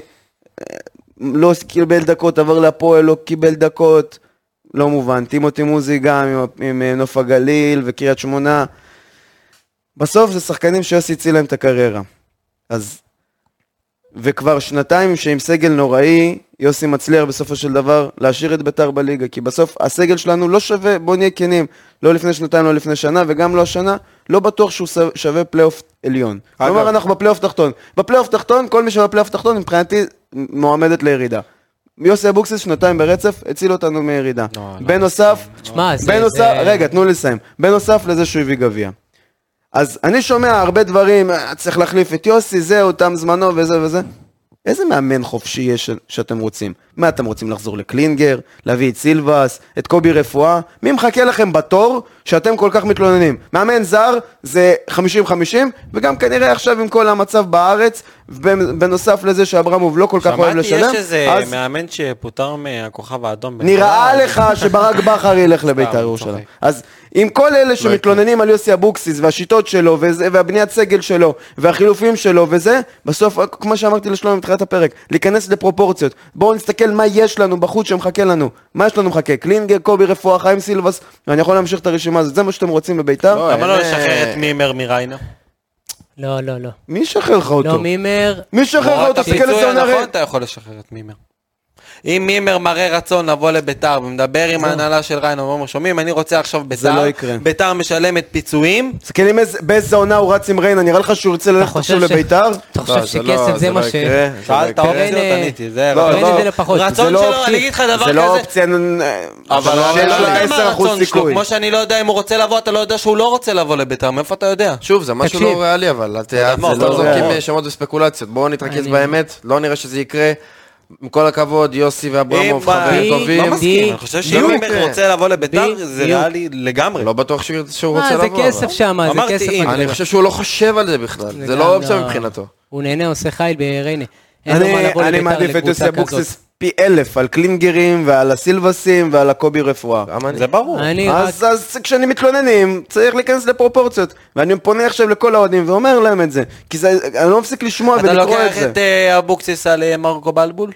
S4: אה, לא קיבל דקות, עבר להפועל, לא קיבל דקות, לא מובן. טימותי מוזי גם עם, ה- עם אה, נוף הגליל וקריית שמונה. בסוף זה שחקנים שיוסי הציל להם את הקריירה. אז... וכבר שנתיים שעם סגל נוראי, יוסי מצליח בסופו של דבר להשאיר את ביתר בליגה, כי בסוף הסגל שלנו לא שווה, בוא נהיה כנים, לא לפני שנתיים, לא לפני שנה, וגם לא השנה, לא בטוח שהוא שו- שווה פלייאוף עליון.
S1: אגב-
S4: כלומר, אנחנו בפלייאוף תחתון. בפלייאוף תחתון, כל מי שבפלייאוף תחתון, מבחינתי, מועמדת לירידה. יוסי אבוקסיס שנתיים ברצף, הציל אותנו מירידה. בנוסף,
S5: תשמע, זה...
S4: בנוסף,
S5: זה-
S4: רגע, תנו לי לסיים. בנוסף לזה שהוא הביא גביע. אז אני שומע הרבה דברים, "אה, צריך להחליף את יוסי, זהו, תם זמנו וזה וזה. איזה מאמן חופשי יש ש- שאתם רוצים? מה אתם רוצים לחזור לקלינגר, להביא את סילבס, את קובי רפואה? מי מחכה לכם בתור שאתם כל כך מתלוננים? מאמן זר זה 50-50, וגם כנראה עכשיו עם כל המצב בארץ, ובנ- בנוסף לזה שאברמוב לא כל כך אוהב
S3: שמעתי
S4: לשלם,
S3: יש איזה
S4: אז
S3: מאמן שפוטר מהכוכב האדום.
S4: נראה לך שברק בכר ילך לבית"ר
S3: סתם,
S4: ירושלים.
S3: צוחק.
S4: אז עם כל אלה שמתלוננים על יוסי אבוקסיס והשיטות שלו וזה, והבניית סגל שלו והחילופים שלו וזה, בסוף, כמו שאמרתי לשלום מתחילת הפרק, להיכנס לפרופורציות. בואו נסתכל מה יש לנו בחוץ שמחכה לנו. מה יש לנו מחכה? קלינגר, קובי רפואה, חיים סילבס, ואני יכול להמשיך את הרשימה הזאת. זה מה שאתם רוצים בבית"ר?
S1: לא,
S3: למה לא
S1: אין,
S3: לשחרר את
S1: אה,
S3: מימר מריינה?
S5: לא, לא, לא.
S4: מי ישחרר לך
S5: לא
S4: אותו?
S5: מימר,
S4: מי ישחרר לך
S3: תמורת
S4: אותו? תסתכל
S3: הפיצוי
S4: איזה עונה
S5: נכון,
S3: הנכון
S4: רע.
S3: נכון, אתה יכול לשחרר את מימר. אם מימר מראה רצון לבוא לביתר ומדבר עם ההנהלה של ריינה ואומר שומעים אני רוצה עכשיו ביתר,
S4: לא יקרה.
S3: ביתר משלמת פיצויים,
S4: תסתכל עם איזה- באיזה עונה הוא רץ עם ריינה, נראה לך שהוא ירצה ללכת
S5: חושב
S4: עכשיו
S5: ש-
S4: לביתר?
S5: אתה
S1: לא,
S5: חושב
S1: זה
S5: שכסף
S1: לא-
S5: זה
S1: לא
S5: מה ש...
S4: כן,
S1: יקרה, זה לא
S3: שאלת
S1: יקרה.
S3: אופציות
S5: אה,
S3: עניתי, זה
S4: לא,
S3: רצון-
S5: אין את זה לפחות.
S3: רצון
S4: זה לא
S3: שלו, אני
S4: אופציה-
S3: אגיד לך דבר
S4: זה לא
S3: כזה,
S4: אופציה, אה,
S3: אבל
S4: שיש
S3: אתה לא
S4: לה
S3: יודע מה
S4: 10%
S3: הרצון שלו,
S4: סיכוי.
S3: כמו שאני לא יודע אם הוא רוצה לבוא, אתה לא יודע שהוא לא רוצה לבוא לביתר, מאיפה אתה יודע?
S1: שוב, זה משהו
S5: תקשיב.
S1: לא ריאלי, אבל את-
S3: יודע
S1: את
S3: מה,
S1: לא
S3: זה לא
S1: זורקים
S4: ריאלי.
S1: אה, שמות וספקולציות. בואו נתרכז
S5: אני-
S1: באמת, לא נראה שזה יקרה. עם כל הכבוד, יוסי
S3: אם
S4: לא
S1: ואברמוב חברים
S5: ב-
S1: טובים.
S3: לא מסכים, אני חושב שאם
S1: בדיוק.
S3: מימר רוצה לבוא לביתר,
S5: בדיוק.
S3: זה ריאלי לגמרי.
S1: לא בטוח שהוא שהוא
S5: מה,
S1: רוצה
S5: זה
S1: לבוא.
S5: כסף שם, זה
S3: אמרתי,
S5: כסף...
S3: אם.
S5: הגדול.
S1: אני חושב שהוא לא חושב על זה בכלל, זה
S5: גם
S1: לא אופציה מבחינתו.
S5: הוא נהנה, עושה חיל בריינה. אין לו מה
S4: אני
S5: לבוא
S4: אני
S5: לביתר
S4: מעדיף את יוסי
S5: לקבוצה כזאת.
S4: אבוקסיס פי אלף על קלינגרים ועל הסילבסים ועל הקובי רפואה.
S1: גם אני.
S3: זה ברור.
S5: אני רק...
S4: אז, אז כשאני מתלוננים, צריך להיכנס לפרופורציות. ואני פונה עכשיו לכל האוהדים ואומר להם את זה. כי זה, אני לא מפסיק לשמוע
S3: אתה
S4: ולקרוא
S3: לוקח
S4: את זה.
S3: את אה, אבוקסיס על אה, מרקו בלבול?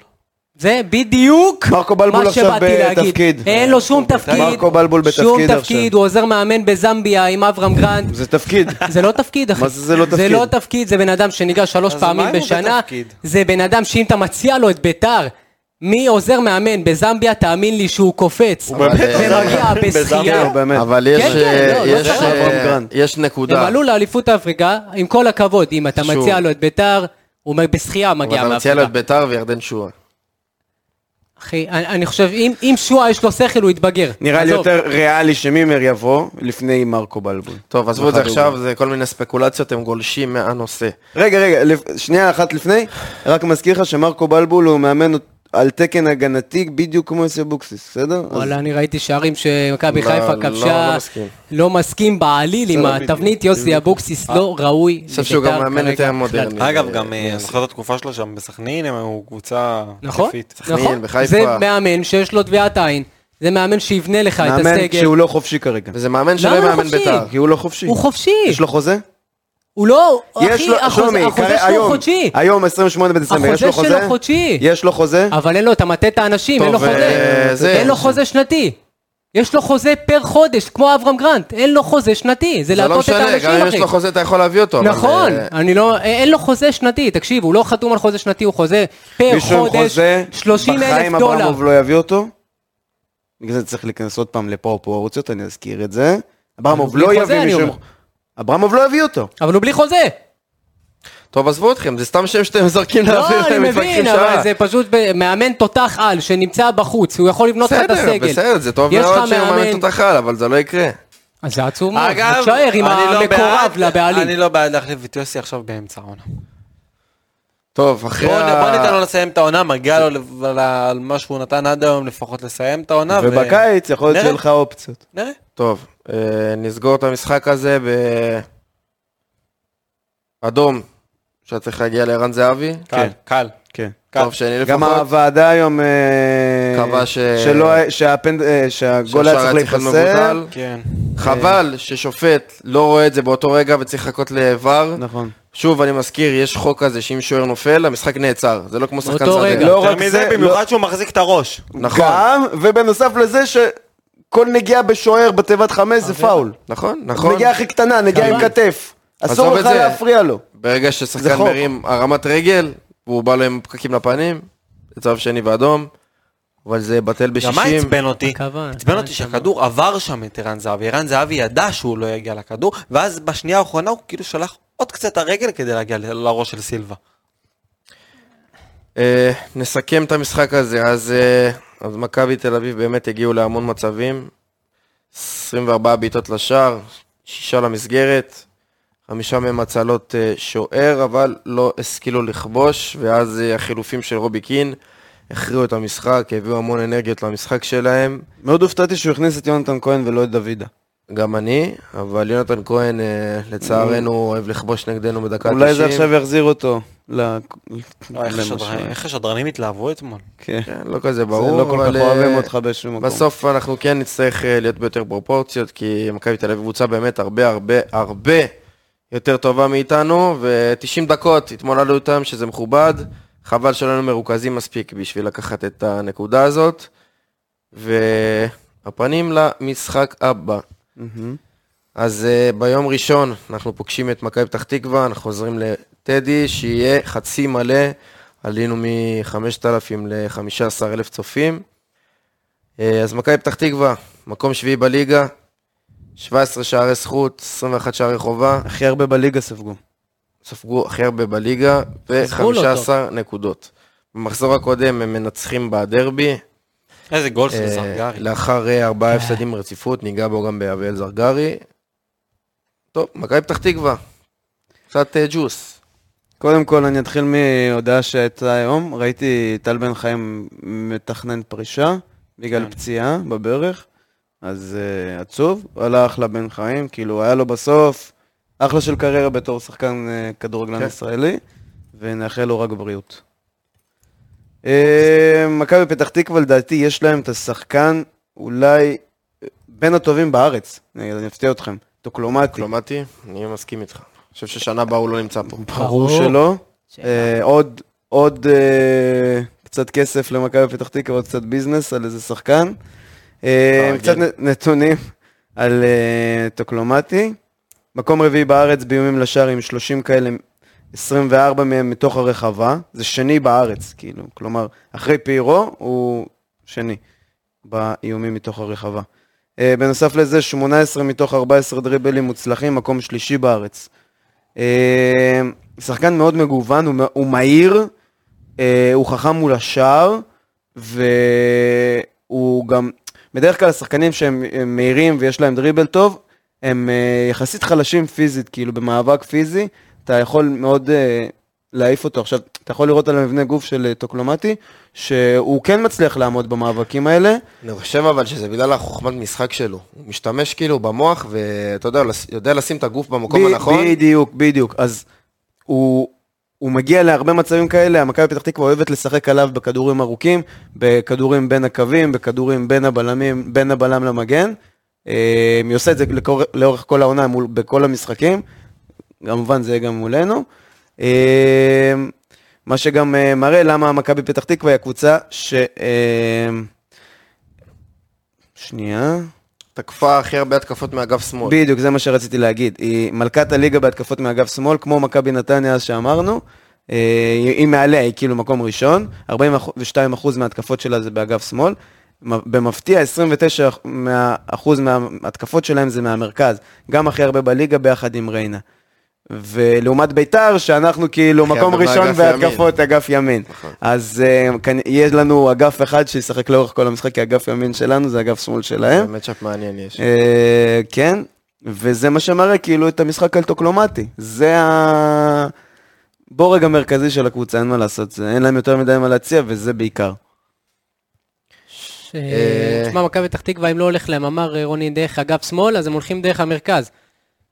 S5: זה בדיוק
S4: מרקו בלבול
S5: מה
S4: עכשיו
S5: שבאתי
S4: בתפקיד.
S5: להגיד. אין לו שום תפקיד.
S4: מרקו בלבול
S5: שום
S4: בתפקיד
S5: תפקיד,
S4: עכשיו.
S5: הוא עוזר מאמן בזמביה עם אברהם
S4: [LAUGHS]
S5: גרנד.
S4: זה תפקיד.
S3: [LAUGHS]
S5: זה לא תפקיד, אחי.
S4: מה זה, זה לא
S5: זה
S4: תפקיד?
S5: לא תפקיד, זה בן אדם שניגש שלוש
S3: אז
S5: פעמים
S3: מה אם הוא
S5: בשנה.
S3: בתפקיד?
S5: זה בן אדם שאם אתה מציע לו את ביתר, מי עוזר מאמן בזמביה, תאמין לי שהוא קופץ.
S1: באמת עוזר
S5: מרגיע
S3: מאמן
S5: בשחייה.
S3: בזמביה,
S4: לא, באמת.
S1: אבל יש,
S5: כן, כן, לא,
S1: יש,
S5: לא צריך.
S1: אה,
S4: גרנד.
S1: יש
S5: הם
S1: נקודה.
S5: עלו לאליפות אפריקה, עם כל הכבוד, אם אתה
S1: שוב.
S5: מציע לו את ביתר, הוא מ- בשחייה
S1: אבל
S5: מגיע
S1: אתה מציע לו
S5: מאפריקה.
S1: את ביתר וירדן שועה.
S5: אחי, אני אני חושב, אם- אם שועה יש לו שכל, הוא יתבגר.
S4: נראה לי
S5: עזוב.
S4: יותר ריאלי שמימר יבוא לפני מרקו בלבול.
S1: טוב, עזבו את זה
S4: אחד
S1: עכשיו, זה כל מיני ספקולציות, הם גולשים מהנושא.
S4: רגע, רגע, לפ- שנייה אחת לפני, רק מזכיר לך שמרקו בלבול הוא מאמן על תקן הגנתי בדיוק כמו יוסי אבוקסיס, בסדר? אז-
S5: וואלה, אני ראיתי שערים שמכבי
S1: לא,
S5: חיפה
S1: לא,
S5: כבשה,
S1: לא מסכים. לא
S5: לא מסכים בעליל עם התבנית יוסי אבוקסיס, לא ראוי לביתר.
S1: אה, אני חושב שהוא גם מאמן
S5: כרגע
S1: יותר
S5: בכלל.
S4: כן,
S1: מודרני.
S3: אגב,
S1: אה,
S3: גם אה, אני זוכר את התקופה שלו שם בסכנין, הם היו קבוצה
S5: נכון,
S3: כיפית.
S5: נכון.
S1: בחיפה.
S5: זה מאמן שיש לו טביעת עין, זה מאמן שיבנה לך את
S4: מאמן
S5: הסגל.
S4: כשהוא לא חופשי כרגע.
S1: וזה מאמן
S5: למה
S1: שלא
S5: הוא
S1: מאמן
S5: חופשי?
S1: ביתר.
S4: כי הוא לא חופשי.
S5: הוא חופשי.
S4: יש לו חוזה?
S5: הוא לא,
S4: יש לו-
S5: אחי, החוזה
S4: שלומי,
S5: החוזה
S4: כרגע-
S5: שלו
S4: היום-
S5: הוא חודשי.
S4: היום 28 בדצמבר, יש לו
S5: החוזה
S4: חוזה?
S5: שלו חודשי.
S4: יש לו חוזה?
S5: אבל אין לו, אתה מטה את האנשים,
S1: טוב,
S5: אין לו
S1: אה,
S5: חוזה.
S1: זה-
S5: אין לו חוזה שנתי. יש לו חוזה פר חודש, כמו אברהם גרנט, אין לו חוזה שנתי, זה
S1: זה לא
S5: להטות את
S1: משנה,
S5: האנשים,
S1: גם אם יש
S5: אחי.
S1: לו חוזה אתה יכול להביא אותו. אבל,
S5: נכון,
S1: אה,
S5: אני לא, אה, אין לו חוזה שנתי, תקשיב, הוא לא חתום על חוזה שנתי, הוא חוזה פר
S4: מישהו עם
S5: חודש,
S4: חוזה,
S5: 30
S4: בחיים
S5: אלף דולר.
S4: אברמוב לא יביא אותו. בגלל זה צריך להיכנס עוד פעם לפרופורציות, אני אזכיר את זה. אברמוב
S5: בלי
S4: לא
S5: חוזה,
S4: יביא
S5: אני
S4: מישהו... עם-
S5: אומר.
S4: אברמוב לא יביא אותו.
S5: אבל הוא בלי
S1: [LAUGHS]
S5: חוזה.
S1: טוב, עזבו אתכם, זה סתם שם שאתם זורקים לאוויר,
S5: לא, אני
S1: אתם מתווכחים
S5: מבין,
S1: שעה.
S5: אבל זה פשוט ב- מאמן תותח על שנמצא בחוץ, הוא יכול לבנות לך את
S1: בסדר,
S5: הסגל.
S1: בסדר, זה טוב
S5: יש לך
S1: מאוד שהוא מאמן
S5: מאמן-
S1: תותח על, אבל זה לא יקרה.
S5: אז זה עצוב מאוד,
S3: אגב,
S5: תשאר עם
S3: אני לא בעד-
S5: המקורב
S3: אני
S5: לבעלים.
S3: לא בעד להחליף את יוסי עכשיו באמצע העונה. אה,
S1: טוב, אחרי
S3: בוא
S1: ה-
S3: בוא ניתן לו לסיים את העונה, מגיע לו לב- על ה- על מה שהוא נתן עד היום לפחות לסיים את העונה. ו-
S4: ובקיץ יכול להיות
S3: נראה.
S4: שיהיה לך אופציות.
S3: נראה.
S1: טוב, אה, נסגור את המשחק הזה ב... אדום, שהיה צריך להגיע לערן זהבי.
S3: קל, קל.
S4: כן.
S3: קל.
S1: טוב, שני
S4: גם
S1: לפחות.
S4: הוועדה היום... אה,
S1: קבע ש-
S4: שלא היה- שהפנד- אה, שהגול
S1: שהשער
S4: היה צריך
S1: להיות
S4: להיפסל.
S1: מבוטל.
S3: כן.
S1: חבל ששופט לא רואה את זה באותו רגע וצריך לחכות לעבר.
S4: נכון.
S1: שוב, אני מזכיר, יש חוק כזה שאם שוער נופל, המשחק נעצר. זה לא כמו שחקן
S5: באותו רגע.
S1: שדה.
S4: לא
S3: יותר
S4: רק
S3: מזה,
S4: זה,
S3: במיוחד שהוא מחזיק את הראש.
S1: נכון.
S4: גם, ובנוסף לזה שכל נגיעה בשוער בתיבת חמש זה פאול.
S1: נכון, נכון.
S4: נגיעה הכי קטנה, נגיעה עם כתף.
S1: עזוב
S4: אסור
S1: את
S4: לך
S1: זה.
S4: להפריע לו.
S1: ברגע
S4: זה
S1: ששחקן
S4: חוק.
S1: מרים הרמת רגל, והוא בא לו עם פקקים לפנים, זה צהוב שני ואדום, אבל זה בטל
S3: גם מה
S1: ב-60.
S3: עצבן אותי?
S5: הכוון,
S3: עצבן אותי
S5: מה
S3: שהכדור עבר שם את ערן זהבי. ערן זהבי ידע שהוא לא יגיע לכדור, ואז בשנייה האחרונה הוא כאילו שלח עוד קצת הרגל כדי להגיע ל- לראש של סילבה.
S1: אה, נסכם את המשחק הזה, אז, אה, אז מכבי תל אביב באמת הגיעו להמון מצבים, 24 בעיטות לשער, שישה למסגרת, חמישה מהם הצלות אה, שוער, אבל לא השכילו לכבוש, ואז אה, החילופים של רובי קין הכריעו את המשחק, הביאו המון אנרגיות למשחק שלהם,
S4: מאוד הופתעתי שהוא הכניס את יונתן כהן ולא את דוידה.
S1: גם אני, אבל יונתן כהן אה, לצערנו אוהב לכבוש נגדנו בדקה 90.
S4: אולי זה עכשיו יחזיר אותו. ל-
S3: לא, איך
S4: למשהו.
S3: השדרנים- איך השדרנים התלהבו אתמול.
S4: כן.
S1: כן, לא כזה ברור,
S4: זה לא כל כך
S1: אה,
S4: אוהבים אותך בשום מקום.
S1: בסוף אנחנו כן נצטרך אה, להיות ביותר פרופורציות, כי מכבי תל אביב קבוצה באמת הרבה הרבה הרבה יותר טובה מאיתנו, ו-90 דקות התמודדנו איתם, שזה מכובד. חבל שלא היינו מרוכזים מספיק בשביל לקחת את הנקודה הזאת. והפנים למשחק הבא.
S4: מהמם.
S1: אז אה, ביום ראשון אנחנו פוגשים את מכבי פתח תקווה, אנחנו חוזרים לטדי, שיהיה חצי מלא, עלינו מ-5,000 ל-15,000 צופים. אה, אז מכבי פתח תקווה, מקום שביעי בליגה, 17 שערי זכות, 21 שערי חובה,
S4: הכי הרבה בליגה ספגו.
S1: ספגו הכי הרבה בליגה,
S5: עזבו לא
S1: ו-15 נקודות. במחזור הקודם הם מנצחים בדרבי,
S3: איזה גול של
S1: אה,
S3: זרגרי.
S1: לאחר אה, ארבעה הפסדים ברציפות, ניגע בו גם באביאל זרגרי. טוב, מכבי פתח תקווה. קצת אה, ג'וס.
S4: קודם כל, אני אתחיל מהודעה שהייתה היום. ראיתי טל בן חיים מתכנן פרישה בגלל
S3: כן.
S4: פציעה בברך, אז אה, עצוב. עלה אחלה בן חיים, כאילו, היה לו בסוף אחלה של קריירה בתור שחקן אה, כדורגלן
S1: כן.
S4: ישראלי, ונאחל לו רק בריאות. אה, מכבי פתח תקווה, לדעתי, יש להם את השחקן אולי אה, בין הטובים בארץ. אני אני אפתיע אתכם. טוקלומטי.
S1: קלומטי, אני מסכים איתך. אני חושב ששנה הבאה הוא לא נמצא פה.
S4: ברור שלא. אה, עוד, עוד אה, קצת כסף למכבי פתח תקווה, עוד קצת ביזנס על איזה שחקן. אה,
S1: אה,
S4: קצת
S1: כן.
S4: נ- נתונים על אה, טוקלומטי. מקום רביעי בארץ באיומים לשער עם 30 כאלה, 24 מהם מתוך הרחבה. זה שני בארץ, כאילו. כלומר, אחרי פיירו הוא שני באיומים מתוך הרחבה. אה, בנוסף לזה, 18 מתוך 14 דריבלים מוצלחים, מקום שלישי בארץ. אה, שחקן מאוד מגוון, הוא, מ- הוא מהיר, אה, הוא חכם מול השער, והוא גם, בדרך כלל השחקנים שהם הם מהירים ויש להם דריבל טוב, הם אה, יחסית חלשים פיזית, כאילו במאבק פיזי, אתה יכול מאוד אה, להעיף אותו. עכשיו, אתה יכול לראות על המבנה גוף של אה, טוקלומטי, שהוא כן מצליח לעמוד במאבקים האלה.
S1: אני חושב אבל שזה בגלל החוכמת משחק שלו. הוא משתמש כאילו במוח, ואתה יודע, הוא יודע לשים את הגוף במקום
S4: ב-
S1: הנכון.
S4: בדיוק, בדיוק. אז הוא, הוא מגיע להרבה מצבים כאלה, המכבי פתח תקווה אוהבת לשחק עליו בכדורים ארוכים, בכדורים בין הקווים, בכדורים בין הבלמים, בין הבלם למגן. אה, היא עושה את זה לקור- לאורך כל העונה, מול, בכל המשחקים. כמובן זה יהיה גם מולנו. אה, מה שגם אה, מראה למה מכבי פתח תקווה היא הקבוצה ש... אה, שנייה.
S1: תקפה הכי הרבה התקפות מאגף שמאל.
S4: בדיוק, זה מה שרציתי להגיד. היא מלכת הליגה בהתקפות מאגף שמאל, כמו מכבי נתניה אז שאמרנו. אה, היא מעליה, היא כאילו מקום ראשון. 42% מההתקפות שלה זה באגף שמאל. מ- במפתיע, 29% מהאחוז מההתקפות שלהם זה מהמרכז. גם הכי הרבה בליגה ביחד עם ריינה. ולעומת ביתר, שאנחנו כאילו
S1: הכי
S4: מקום
S1: הרבה
S4: ראשון
S1: באגף
S4: בהתקפות אגף ימין.
S1: נכון.
S4: אז אה, כאן- יש לנו אגף אחד שישחק לאורך כל המשחק, כי אגף ימין שלנו זה אגף שמאל שלהם.
S1: באמת שאפ מעניין יש.
S4: אה, כן, וזה מה שמראה כאילו את המשחק הטוקלומטי. זה הבורג המרכזי של הקבוצה, אין מה לעשות, זה, אין להם יותר מדי מה להציע וזה בעיקר.
S5: ש- תשמע, מכבי פתח תקווה, אם לא הולך להם, אמר אה, רוני, דרך אגף שמאל, אז הם הולכים דרך המרכז.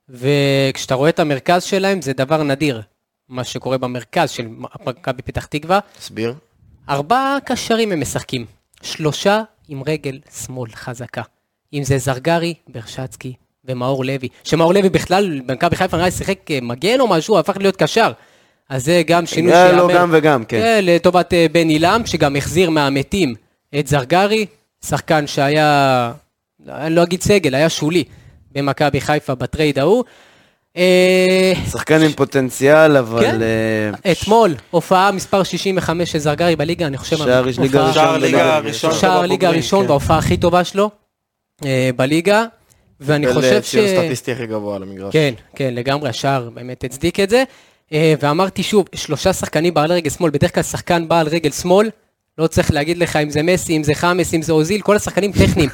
S5: וכשאתה רואה את המרכז שלהם, זה דבר נדיר, מה שקורה במרכז של מכבי פתח תקווה.
S1: תסביר.
S5: ארבעה קשרים הם משחקים, שלושה עם רגל שמאל חזקה. אם זה זרגרי, ברשצקי ומאור לוי. שמאור לוי בכלל, במכבי חיפה נראה לי שיחק אה, מגן או משהו, הפך להיות קשר. אז זה גם שינוי
S4: היה לו גם וגם, כן.
S5: כן, לטובת אה, בן עילם, שגם החזיר מהמתים את זרגרי, שחקן שהיה, אני לא אגיד סגל, היה שולי במכבי חיפה בטרייד ההוא. אה,
S4: שחקן עם פוטנציאל, אבל...
S5: כן.
S4: אה,
S5: אתמול, הופעה מספר 65 של זרגרי בליגה, אני חושב...
S4: שער יש ליגה
S1: לא,
S3: שער
S4: ראשון.
S5: הופעה-
S3: ליגה
S4: בליגה.
S3: הראשון.
S5: שער הליגה
S3: בבוגרים,
S5: הראשון
S3: כן.
S5: וההופעה הכי טובה שלו אה, בליגה,
S4: אה,
S5: ואני חושב ש...
S1: אה, ציון סטטיסטי הכי גבוה על המגרש.
S5: כן, כן, לגמרי, השער באמת הצדיק את זה. אה, ואמרתי שוב, שלושה שחקנים בעל רגל שמאל, בדרך כלל שחקן בעל רגל שמאל, לא צריך להגיד לך אם זה מסי, אם זה חמאס, אם זה אוזיל, כל השחקנים טכניים.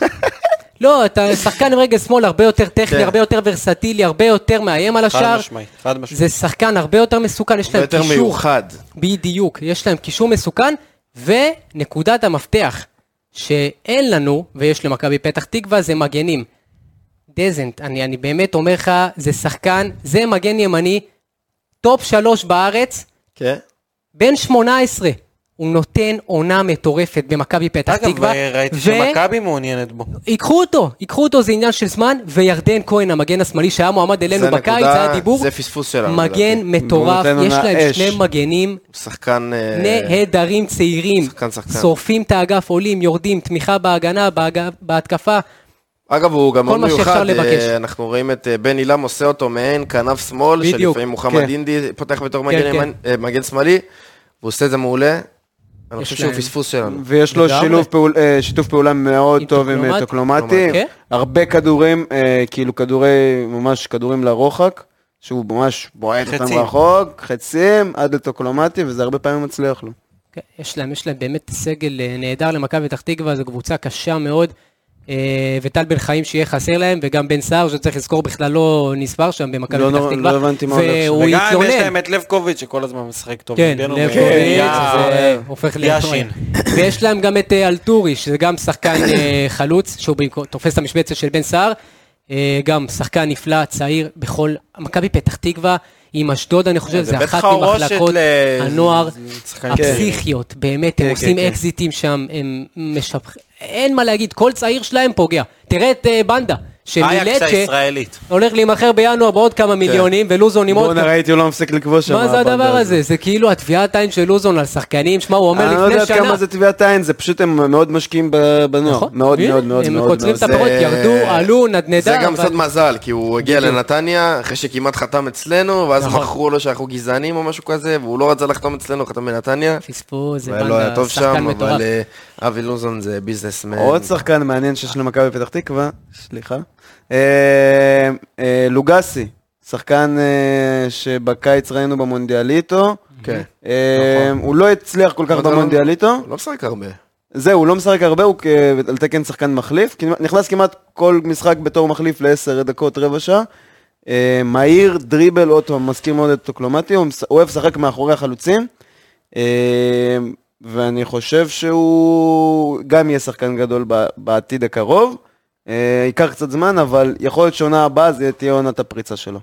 S5: לא, אתה שחקן עם רגל שמאל הרבה יותר טכני,
S1: כן.
S5: הרבה יותר ורסטילי, הרבה יותר מאיים על
S3: חד
S5: השער.
S3: משמעית, חד משמעית.
S5: זה שחקן הרבה יותר מסוכן, יש להם
S1: לא יותר
S5: קישור
S1: מיוחד.
S5: בדיוק, יש להם קישור מסוכן, ונקודת המפתח שאין לנו, ויש למכבי פתח תקווה, זה מגנים. דזנט, אני, אני באמת אומר לך, זה שחקן, זה מגן ימני, טופ שלוש בארץ,
S1: כן.
S5: בן 18. הוא נותן עונה מטורפת במכבי פתח
S3: אגב,
S5: תקווה.
S3: אה, ראיתי
S5: ו-
S3: שמכבי מעוניינת בו.
S5: ייקחו אותו, ייקחו אותו, זה עניין של זמן, וירדן כהן, המגן השמאלי שהיה מועמד אלינו
S1: זה
S5: בקיץ,
S1: נקודה-
S5: היה דיבור,
S1: זה פספוס שלנו.
S5: מגן
S1: לדעתי.
S5: מטורף,
S4: הוא נותן
S5: יש
S4: עונה
S5: להם
S4: אש.
S5: שני מגנים
S1: שחקן... אה,
S5: נהדרים צעירים,
S1: שחקן, שחקן.
S5: שורפים את האגף, עולים, יורדים, תמיכה בהגנה, בהג... בהתקפה.
S1: אגב, הוא גם
S5: כל
S1: מאוד
S5: מה שאפשר
S1: מיוחד,
S5: לבקש.
S1: אה, אנחנו רואים את אה, בן עילם עושה אותו מעין כנף שמאל,
S5: בדיוק,
S1: שלפעמים מוחמד
S4: כן.
S1: אינדי פותח בתור
S5: כן,
S1: מגן
S5: כן.
S1: ימני- אה, מגן שמאלי, והוא עושה את זה מעולה. אני חושב שהוא
S5: להם.
S1: פספוס שלנו.
S4: ויש לו
S5: לגמרי.
S4: שילוב פעול, אה, שיתוף פעולה מאוד
S5: עם
S4: טוב עם אה,
S5: טוקלומט.
S4: טוקלומטי.
S5: כן.
S4: הרבה כדורים, אה, כאילו כדורי, ממש כדורים לרוחק, שהוא ממש בועט אותם
S3: חצים.
S4: רחוק, חצים, עד לטוקלומטי, וזה הרבה פעמים מצליח לו.
S5: כן, יש להם, יש להם באמת סגל אה, נהדר למכבי פתח תקווה, זו קבוצה קשה מאוד. אה, וטל בן חיים שיהיה חסר להם, וגם בן סער, שצריך לזכור, בכלל לא נספר שם במכבי
S4: לא
S5: פתח
S4: נורא-
S5: תקווה.
S4: לא הבנתי מה הולך שם.
S5: והוא
S3: וגם יש
S5: התלונן.
S3: להם את לבקוביץ' שכל הזמן משחק טוב.
S5: כן,
S3: הגן אומר,
S5: לבקוביץ',
S3: "יאו,
S5: זה הופך ל...
S3: יאשין.
S5: ויש להם גם את אה, אלטורי, שזה גם שחקן אה, חלוץ, שהוא במקום- תופס את המשבצת של בן סער. אה, גם שחקן נפלא, צעיר, בכל... מכבי פתח תקווה, עם אשדוד, אני חושב, זה
S3: בית
S5: אחת
S3: חרושת
S5: ממחלקות
S3: ל-
S5: הנוער
S3: שחקן כן.
S5: הפסיכיות. באמת, הם
S3: כן,
S5: עושים
S3: כן.
S5: אקזיטים שם, הם משבחים... אין מה להגיד, כל צעיר שלהם פוגע. תראה את אה, בנדה,
S3: אייקס
S5: שמילצ'ה
S3: הישראלית. כן.
S5: הולך להימכר בינואר בעוד כמה מיליונים, ולוזון עם עוד
S4: בואנה,
S5: כמה...
S4: ראיתי, הוא לא מפסיק לכבוש שם.
S5: מה זה
S4: הבנדה
S5: הדבר הזה? זה כאילו הטביעת עין של לוזון על שחקנים, שמע, הוא אומר
S4: אני לא
S5: לפני
S4: יודע
S5: שנה.
S4: כמה זה טביעת עין, זה פשוט הם מאוד משקיעים ב- בנוער.
S5: נכון?
S4: מאוד
S5: הנה,
S4: מאוד מאוד
S5: הם
S4: מאוד.
S5: קוצרים
S4: מאוד.
S5: את הפירות, ירדו, עלו, נדנדה.
S1: אה, זה גם
S5: אבל-
S1: קצת מזל, כי הוא הגיע לנתניה אחרי שכמעט חתם אצלנו, ואז
S5: נכון.
S1: מכרו לו שאנחנו גזענים או משהו כזה, והוא לא רצה לחתום אצלנו, חתם בנתניה.
S5: פספוס, זה
S4: לא
S1: והיה לו היה
S5: בנדה,
S1: טוב
S5: שחקן
S1: שם,
S5: מטורף.
S1: אבל אה, אבי לוזון זה ביזנסמן.
S4: אה, עוד שחקן מעניין שיש למכבי פתח תקווה, סליחה. אה, אה, לוגסי, שחקן אה, שבקיץ ראינו במונדיאליטו.
S1: כן.
S4: אה,
S5: נכון.
S4: הוא לא הצליח כל כך
S1: אבל זה לא-
S4: במונדיאליטו.
S1: הוא לא משחק הרבה.
S4: זהו, הוא לא משחק הרבה, הוא כ- על תקן שחקן מחליף. כמעט- נכנס כמעט כל משחק בתור מחליף לעשר דקות, רבע שעה. אה, מהיר, דריבל, אוטו, מזכיר מאוד את טוקלומטי, הוא מש- אוהב לשחק מאחורי החלוצים. אה, ואני חושב שהוא גם יהיה שחקן גדול ב- בעתיד הקרוב. אה, ייקח קצת זמן, אבל יכול להיות שעונה הבאה זה תהיה עונת הפריצה שלו.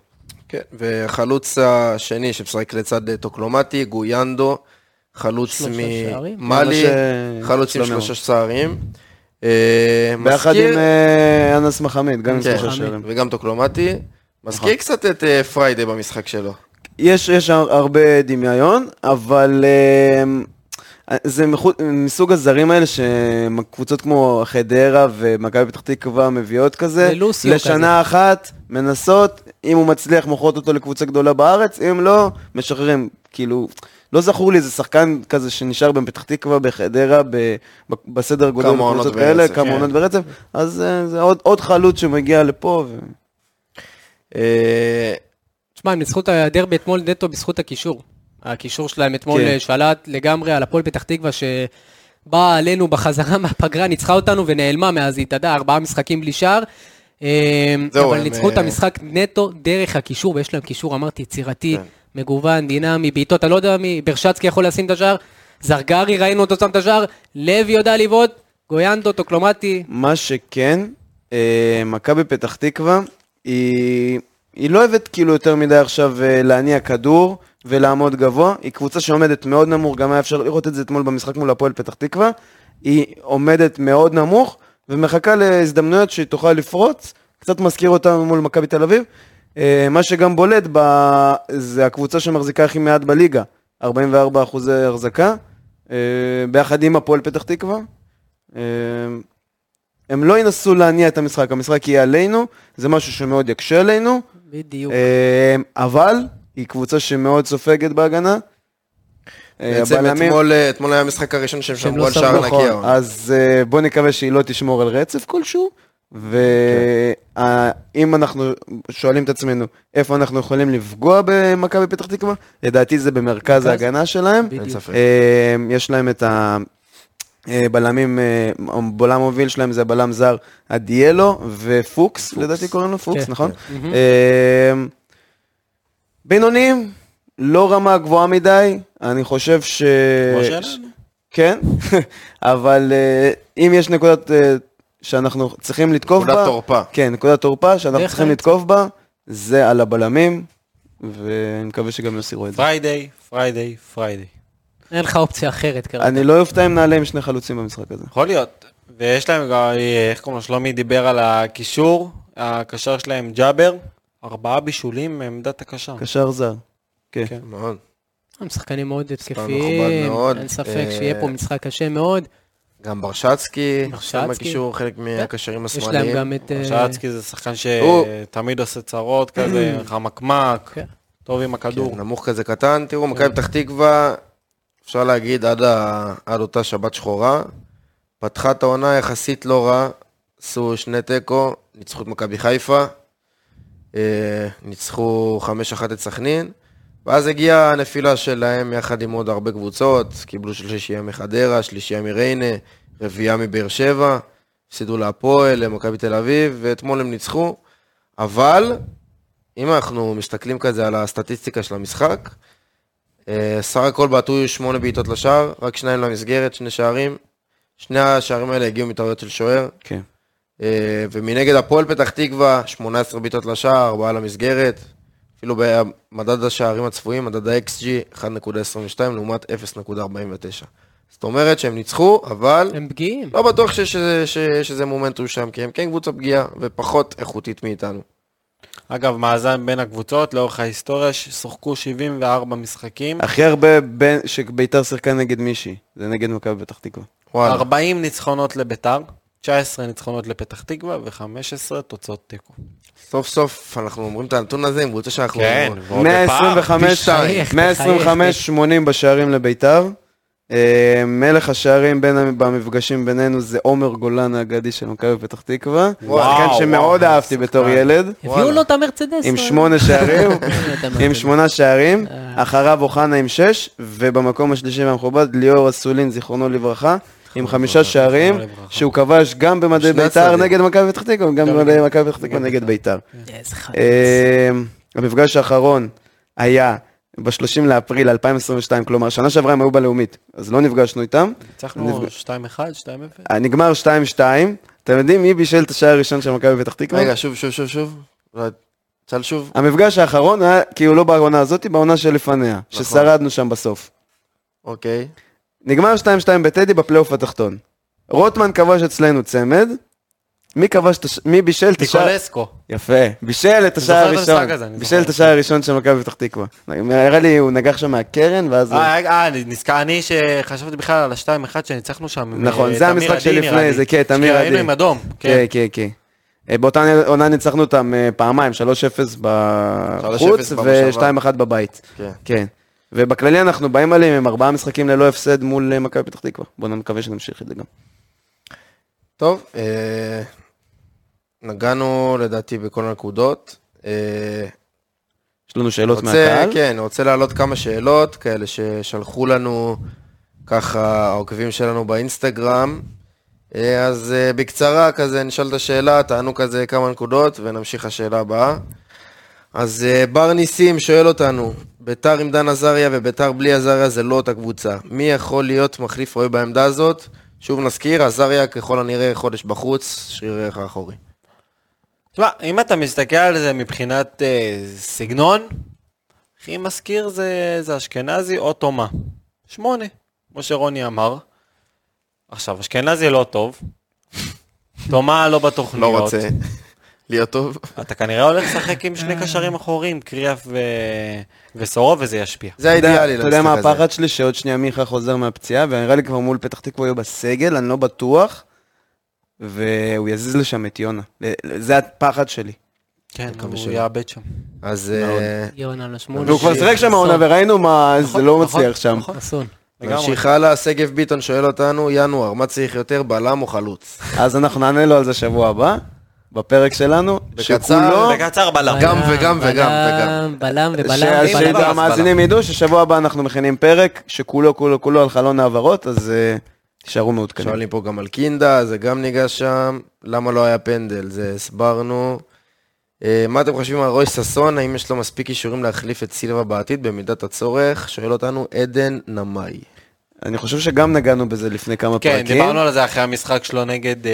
S1: כן, והחלוץ השני שמשחק לצד אה, טוקלומטי, גויאנדו, חלוץ
S5: שלושה שערים?
S1: ממאלי,
S4: ממש, אה,
S1: חלוץ עם
S4: לא מאוד.
S1: שלושה שערים. אה,
S4: ביחד
S1: מזכיר-
S4: עם אה, אנס מחמיד, גם עם
S1: כן,
S4: שלושה שערים. נכון.
S1: וגם טוקלומטי. מזכיר קצת את אה, פריידי במשחק שלו.
S4: יש, יש הר- הרבה דמיון, אבל אמ, זה מחו- מסוג הזרים האלה שקבוצות כמו חדרה ומכבי פתח תקווה מביאות כזה.
S5: ללוסיו
S4: לשנה אחת, מנסות, אם הוא מצליח מוכרות אותו לקבוצה גדולה בארץ, אם לא, משחררים. כאילו, לא זכור לי איזה שחקן כזה שנשאר בפתח תקווה, בחדרה, ב- ב- בסדר גודל
S1: כמה עונות
S4: בקבוצות כאלה,
S1: ברצף,
S4: כמה
S1: כן.
S4: עונות ברצף, אז אה, זה עוד- עוד חלוץ שמגיע לפה. ו-
S1: אה,
S5: תשמע, הם ניצחו את הדרבי אתמול נטו בזכות הקישור. הקישור שלהם אתמול
S4: כן.
S5: אה, שלט לגמרי על הפועל פתח תקווה שבאה עלינו בחזרה [LAUGHS] מהפגרה, ניצחה אותנו ונעלמה מאז, היא התאדה, ארבעה משחקים בלי שער. אה,
S1: זהו,
S5: אבל
S1: הם,
S5: ניצחו את
S1: אה,
S5: המשחק נטו דרך הקישור, ויש להם קישור, אמרתי, יצירתי,
S1: כן.
S5: מגוון, דינמי, בעיטות, אני לא יודע מי, ברשצקי יכול לשים את השער, זרגרי, ראינו אותו שם את השער, לוי יודע לבעוט, גויאנדו, טוקלומטי,
S4: מה שכן, אה, מכבי פתח תקווה, היא, היא לא אוהבת כאילו יותר מדי עכשיו אה, להניע כדור ולעמוד גבוה, היא קבוצה שעומדת מאוד נמוך, גם היה אפשר לראות את זה אתמול במשחק מול הפועל פתח תקווה, היא עומדת מאוד נמוך ומחכה להזדמנויות שהיא תוכל לפרוץ, קצת מזכיר אותנו מול מכבי תל אביב. אה, מה שגם בולט ב... זה הקבוצה שמחזיקה הכי מעט בליגה, 44 אחוזי החזקה, אה, ביחד עם הפועל פתח תקווה. אה, הם לא ינסו להניע את המשחק, המשחק יהיה עלינו, זה משהו שמאוד יקשה עלינו,
S5: בדיוק.
S4: אה, אבל היא קבוצה שמאוד סופגת בהגנה. אה,
S1: בעצם
S4: הבלמים-
S1: אתמול, אה, אתמול היה המשחק הראשון שהם שמרו
S5: לא
S1: על
S5: ספגו,
S1: שער
S4: נכון,
S1: נקי. אבל.
S4: אז אה, בוא נקווה שהיא לא תשמור על רצף כלשהו, ואם אנחנו שואלים את עצמנו איפה אנחנו יכולים לפגוע במכבי פתח תקווה, לדעתי זה במרכז
S5: מרכז?
S4: ההגנה שלהם.
S1: אין
S5: בדיוק.
S1: ספק.
S4: אה, יש להם את אה, הבלמים, בלם מוביל שלהם זה הבלם זר אדיאלו ופוקס, לדעתי קוראים לו פוקס,
S5: כן.
S4: נכון? אה, בינוניים, לא רמה גבוהה מדי, אני חושב ש...
S3: כמו שלנו.
S4: כן, [LAUGHS] אבל אה, אם יש נקודת אה, שאנחנו צריכים לתקוף בה...
S1: נקודת תורפה.
S4: כן, נקודת תורפה שאנחנו
S5: בהחלט.
S4: צריכים לתקוף בה, זה על הבלמים, ואני מקווה שגם יסירו את זה.
S3: פריידיי, פריידיי, פריידיי.
S5: אין לך אופציה אחרת כרגע.
S4: אני לא אופתע אם נעלה עם שני חלוצים במשחק הזה.
S3: יכול להיות. ויש להם גם, אה, איך קוראים לו? שלומי דיבר על הקישור, הקשר שלהם ג'אבר, ארבעה בישולים מעמדת הקשר.
S4: קשר זר. כן.
S3: כן.
S1: מאוד.
S5: הם שחקנים מאוד
S1: מכובד
S5: התקפיים,
S1: מאוד.
S5: אין ספק
S1: אה,
S5: שיהיה פה משחק קשה מאוד.
S1: גם ברשצקי,
S5: ברשצקי. כן.
S1: שם בקישור חלק מהקשרים
S5: יש להם
S1: השמאליים.
S5: גם את... אה,
S3: שרצקי זה שחקן
S1: הוא-
S3: שתמיד עושה צרות
S5: [CLEARS THROAT]
S3: כזה, חמקמק,
S5: כן.
S3: טוב עם הכדור.
S1: כן, נמוך כזה קטן. תראו, מכבי פתח תקווה, אפשר להגיד עד ה- עד אותה שבת שחורה, פתחה את העונה יחסית לא רע, עשו שני תיקו, ניצחו את מכבי חיפה, אה, ניצחו 5-1 את סכנין, ואז הגיעה הנפילה שלהם יחד עם עוד הרבה קבוצות, קיבלו שלישייה מחדרה, שלישייה מריינה, רביעייה מבאר שבע, הפסידו להפועל, למכבי תל אביב, ואתמול הם ניצחו, אבל אם אנחנו מסתכלים כזה על הסטטיסטיקה של המשחק, אה, סך הכל בעטו היו שמונה בעיטות לשער, רק שניים למסגרת, שני שערים. שני השערים האלה הגיעו מטעויות של שוער.
S4: כן.
S1: אה, ומנגד הפועל פתח תקווה, 18 בעיטות לשער, 4 למסגרת. אפילו במדד השערים הצפויים, מדד ה-XG, 1.22 לעומת 0.49. זאת אומרת שהם ניצחו, אבל
S5: הם פגיעים.
S1: לא בטוח שיש איזה- ש- שזה מומנטום שם, כי הם כן קבוצה פגיעה ופחות איכותית מאיתנו.
S3: אגב, מאזן בין הקבוצות לאורך ההיסטוריה, ששוחקו 74 משחקים,
S4: הכי הרבה בין- שביתר שיחקה נגד מישהי, זה נגד מכבי פתח תקווה.
S1: וואלה.
S3: 40 ניצחונות לביתר, 19 ניצחונות לפתח תקווה ו-15 תוצאות תיקו.
S1: סוף סוף אנחנו אומרים את הנתון הזה עם קבוצה שאנחנו...
S3: ועוד בפער.
S4: 125,
S5: תחייך,
S4: 125, 80 בשערים לביתר. אה, מלך השערים בין, המ- במפגשים בינינו זה עומר גולן האגדי של מכבי פתח תקווה.
S3: וואו,
S4: שחקן שמאוד
S3: וואו,
S4: אהבתי בתור ילד.
S5: הביאו לו את המרצדס.
S4: עם
S5: לא?
S4: שמונה שערים,
S5: הביאו לו את
S4: עם
S5: המרצדס.
S4: שמונה שערים,
S5: אה.
S4: אחריו אוחנה עם שש, ובמקום השלישי והמכובד ליאור אסולין, זיכרונו לברכה, עם חמישה שערים,
S3: לברכה.
S4: שהוא כבש גם במדי
S1: שני
S4: בית"ר
S1: הצדדים.
S4: נגד מכבי פתח תקווה, וגם במדי מכבי פתח תקווה נגד בית"ר.
S5: איזה חלוץ.
S4: אה, המפגש האחרון היה ב-30 לאפריל 2022, כלומר, שנה שעברה הם היו בלאומית, אז לא נפגשנו איתם.
S3: ניצחנו
S4: נפגע-
S3: 2-1, 2-0.
S4: נגמר 2-2, אתם יודעים מי בישל את השער הראשון של מכבי פתח תקווה?
S1: רגע, שוב, שוב, שוב, שוב. לא, צל שוב.
S4: המפגש האחרון היה כאילו לא בעונה הזאת, בעונה שלפניה,
S3: נכון.
S4: ששרדנו שם בסוף.
S1: אוקיי.
S4: נגמר 2-2 בטדי בפלייאוף התחתון. רוטמן כבש אצלנו צמד, מי כבש, את הש- מי בישל את השער?
S3: ניקולסקו.
S4: יפה, בישל את השער
S3: זוכר את המשחק
S4: הראשון,
S3: הזה, אני
S4: בישל
S3: זוכר.
S4: את השער הראשון של מכבי פתח תקווה. נראה לי הוא נגח שם מהקרן, ואז... הוא-
S3: אה, אה, אני נזכר, אני שחשבתי בכלל על השתיים אחד שניצחנו שם. עם,
S4: נכון,
S3: אה,
S4: זה
S3: תמיר
S4: המשחק
S3: עדי, נראה
S4: שלפני
S3: לי.
S4: זה, כן, תמיר
S3: שראינו
S4: עדי.
S3: עם אדום.
S4: כן, כן, כן. אה, באותה עונה ניצחנו אותם אה, פעמיים, 3-0 בחוץ
S1: 3-0 במושבה.
S4: ו-2-1 בבית.
S1: כן.
S4: כן. ובכללי אנחנו באים עליהם עם ארבעה משחקים ללא הפסד מול אה, מכבי פתח תקווה. בואו נקווה שנמשיך את זה גם.
S1: טוב, אה, נגענו לדעתי בכל הנקודות. אה,
S4: יש לנו שאלות
S1: רוצה,
S4: מהקהל?
S1: כן, רוצה להעלות כמה שאלות כאלה ששלחו לנו ככה העוקבים שלנו באינסטגרם. אה, אז אה, בקצרה כזה נשאל את השאלה, טענו כזה כמה נקודות ונמשיך לשאלה הבאה. אז אה, בר ניסים שואל אותנו, ביתר עם דן עזריה וביתר בלי עזריה זה לא אותה קבוצה. מי יכול להיות מחליף רועי בעמדה הזאת? שוב נזכיר, עזריה ככל הנראה חודש בחוץ, שריר ערך האחורי.
S3: תשמע, אם אתה מסתכל על זה מבחינת אה, סגנון, הכי מזכיר זה, זה אשכנזי או תומה. שמונה, כמו שרוני אמר. עכשיו, אשכנזי לא טוב, תומה לא בתוכניות.
S1: לא רוצה [LAUGHS] להיות טוב.
S3: אתה כנראה הולך לשחק עם שני קשרים אחוריים, קריאף ו... וסורוב, וזה ישפיע.
S1: זה
S4: אתה יודע-
S1: האידיאלי.
S4: אתה יודע מה
S1: למשחק הזה.
S4: הפחד שלי? שעוד שנייה מיכה חוזר מהפציעה, ונראה לי כבר מול פתח תקווה יהיו בסגל, אני לא בטוח. והוא יזיז לשם את יונה. ל- זה הפחד שלי.
S3: כן,
S1: מקווה
S3: הוא
S1: שלא.
S3: יאבד שם.
S1: אז אה,
S5: יונה לשמונה.
S4: והוא כבר שיחק שם העונה, וראינו מה זה לא מצליח שם.
S5: נכון, אסון.
S3: לגמרי.
S1: נמשיך הלאה, שגב ביטון שואל אותנו, ינואר, מה צריך יותר, בלם או חלוץ?
S4: אז אנחנו נענה לו על זה שבוע הבא, בפרק שלנו,
S1: בקצר,
S4: שכולו,
S3: בקצר בלם.
S1: גם וגם וגם וגם.
S5: בלם, בלם ובלם.
S4: ש-
S5: ובלם.
S4: שהמאזינים ידעו ששבוע הבא אנחנו מכינים פרק שכולו כולו כולו על חלון העברות, אז אה, תישארו
S3: כן.
S4: מעודכנים.
S1: שואלים פה גם על קינדה, זה גם ניגש שם, למה לא היה פנדל, זה הסברנו. אה, מה אתם חושבים על רוי ששון, האם יש לו מספיק כישורים להחליף את סילבה בעתיד במידת הצורך? שואל אותנו עדן נמאי.
S4: אני חושב שגם נגענו בזה לפני כמה
S3: כן,
S1: אוקיי.
S4: פרקים.
S3: דיברנו על זה אחרי המשחק שלו נגד... אה,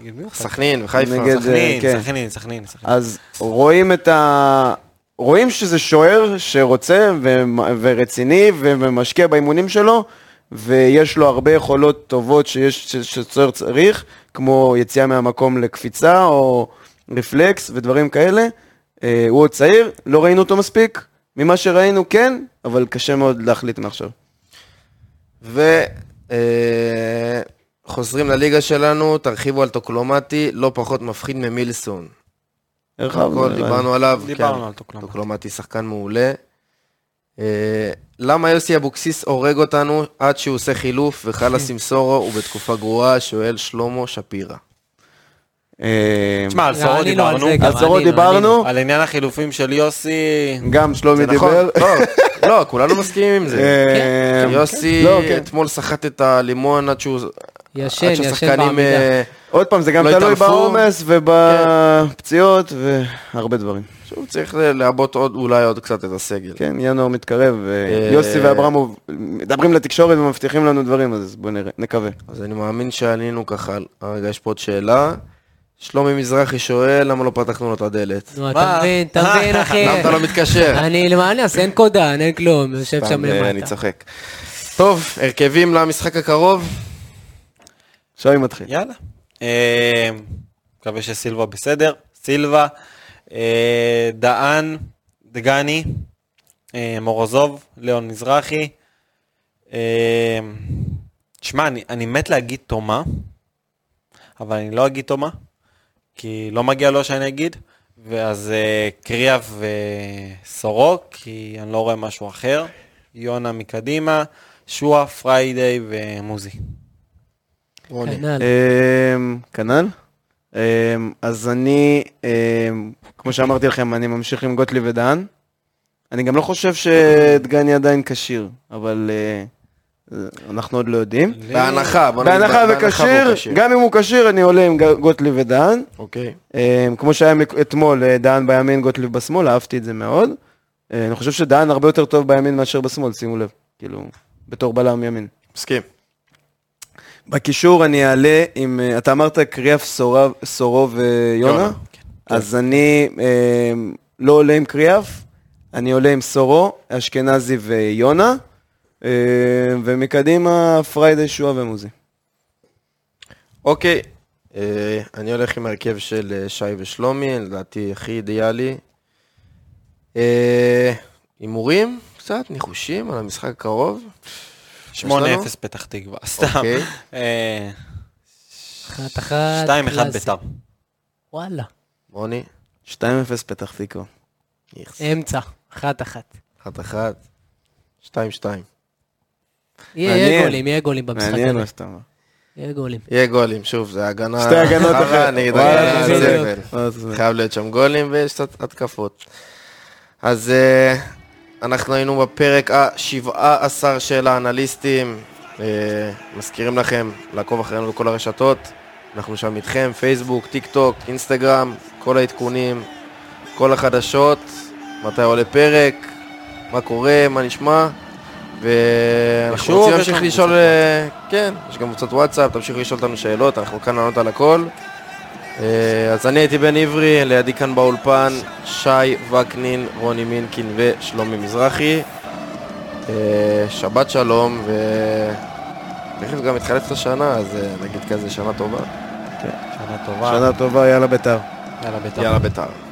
S3: נגד מי הוא?
S1: סכנין וחיפה.
S4: נגד-
S1: סכנין.
S3: סכנין,
S4: כן.
S3: סכנין, סכנין, סכנין.
S4: אז רואים את ה... רואים שזה שוער שרוצה ו... ורציני ו... ומשקיע באימונים שלו, ויש לו הרבה יכולות טובות שיש... ש... שצוער צריך, כמו יציאה מהמקום לקפיצה או רפלקס ודברים כאלה. אה, הוא עוד צעיר, לא ראינו אותו מספיק, ממה שראינו כן, אבל קשה מאוד להחליט מעכשיו.
S1: וחוזרים אה, לליגה שלנו, תרחיבו על טוקלומטי, לא פחות מפחיד ממילסון.
S4: הרחבנו,
S1: הכל
S4: נראה לי.
S1: דיברנו עליו.
S3: דיברנו
S1: כן.
S3: על
S4: לא
S3: טוקלומטי.
S1: טוקלומטי שחקן מעולה. אה, למה יוסי אבוקסיס הורג אותנו עד שהוא עושה חילוף
S4: [LAUGHS]
S1: וחלאס עם סורו הוא בתקופה גרועה? שואל שלמה שפירא.
S4: אה,
S3: תשמע, על סורו
S5: ענינו לא, על
S3: דיברנו,
S5: זה גם, לא,
S4: על סורו
S5: ענינו,
S4: דיברנו,
S3: על עניין החילופים של יוסי,
S4: גם שלומי
S1: זה נכון?
S4: דיבר.
S1: לא, לא, כולנו מסכימים עם זה.
S4: אה,
S1: יוסי
S4: לא, כן.
S1: אתמול סחט את הלימון עד שהוא...
S5: ישן,
S1: עד
S5: ישן
S1: שהשחקנים...
S5: בעמידה.
S1: אה,
S4: עוד פעם, זה גם
S1: לא כן.
S4: תלוי
S1: התערפו.
S4: בעומס ובפציעות והרבה דברים.
S1: שהוא צריך ל- לעבות עוד, אולי עוד קצת את הסגל.
S4: כן, ינואר מתקרב, ו-
S1: אה,
S4: יוסי ואברמוב מדברים לתקשורת ומבטיחים לנו דברים, אז בואו נראה, נקווה.
S1: אז אני מאמין שעלינו ככה. רגע, יש פה עוד שאלה. שלומי מזרחי שואל, למה לא פתחנו לו את הדלת?
S5: נו, אתה מבין, אתה מבין, אחי.
S1: למה אתה לא מתקשר?
S5: אה. אני, מה אני אעשה? אין קודן, אין כלום, יושב שם
S1: סתם, אה, אני
S5: למטה.
S1: צוחק. טוב, הרכבים למשחק הקרוב.
S4: שוי מתחיל.
S3: יאללה. אה, מקווה שסילבה בסדר, סילבה, אה, דהן, דגני, אה, מורוזוב, ליאון מזרחי. אה, תשמע, אני, אני מת להגיד תומה, אבל אני לא אגיד תומה, כי לא מגיע לו שאני אגיד, ואז אה, קריאף וסורו, כי אני לא רואה משהו אחר. יונה מקדימה, שועה, פריידיי ומוזי.
S5: כנ"ל.
S4: אמ, כנ"ל. אמ, אז אני, אמ, כמו שאמרתי לכם, אני ממשיך עם גוטליב ודהן. אני גם לא חושב שדגני עדיין כשיר, אבל אה, אה, אנחנו עוד לא יודעים.
S1: בהנחה, בוא נגיד,
S4: בהנחה
S1: והוא
S4: וכשיר, גם אם הוא כשיר, אני עולה עם ג- גוטליב ודהן.
S1: אוקיי.
S4: אה, כמו שהיה מק- אתמול, אה, דהן בימין, גוטליב בשמאל, אהבתי את זה מאוד. אה, אני חושב שדהן הרבה יותר טוב בימין מאשר בשמאל, שימו לב, כאילו, בתור בלם ימין.
S1: מסכים.
S4: בקישור אני אעלה עם, אה, אתה אמרת קריאף סורב- סורו ויונה?
S1: יונה,
S4: כן. אז אני אה, לא עולה עם קריאף, אני עולה עם סורו, אשכנזי ויונה, אה, ומקדימה פריידי שועה ומוזי.
S1: אוקיי. אה, אני הולך עם הרכב של אה, שי ושלומי, לדעתי הכי אידיאלי. אה, הימורים? קצת, ניחושים על המשחק הקרוב.
S3: 8-0 פתח תקווה, סתם.
S1: אוקיי.
S3: אה,
S5: אחת אחת.
S3: 2-1
S5: קלאסי.
S3: ביתר.
S5: וואלה.
S1: רוני,
S4: 2-0 פתח תקווה.
S1: איכס.
S4: אה.
S5: אמצע, אחת אחת.
S1: אחת אחת, שתיים שתיים.
S5: יהיה
S4: מעניין.
S5: יהיה גולים, יהיה גולים במשחק
S4: מעניין מה
S5: הזה.
S4: שאתה אומר.
S5: יהיה גולים.
S1: יהיה גולים, שוב, זה הגנה...
S4: שתי הגנות
S1: חרא
S4: אחרת.
S1: נגד
S4: וואלה,
S1: הגנה
S5: בדיוק.
S1: זבל.
S4: וואלה, זבל.
S1: חייב להיות שם גולים ויש קצת התקפות. אז אה, אנחנו היינו בפרק ה-17 של האנליסטים. אה, מזכירים לכם לעקוב אחרינו בכל הרשתות. אנחנו שם איתכם, פייסבוק, טיק טוק, אינסטגרם, כל העדכונים, כל החדשות, מתי עולה פרק, מה קורה, מה נשמע. ואנחנו
S3: ושוב,
S1: רוצים
S3: יש
S1: להמשיך
S3: לנו
S1: לשאול,
S3: קבוצת
S1: אה, כן, יש גם קבוצת וואטסאפ, תמשיכו לשאול אותנו שאלות, אנחנו כאן לענות על הכל. אה, אז אני הייתי בן עברי, לידי כאן באולפן, שי וקנין, רוני מינקין ושלומי מזרחי. אה, שבת שלום, ו... תכף גם מתחלפת השנה, אז אה, נגיד כזה שנה טובה.
S3: שנה טובה.
S4: שנה טובה, יאללה ביתר.
S3: יאללה ביתר.
S1: יאללה בית"ר.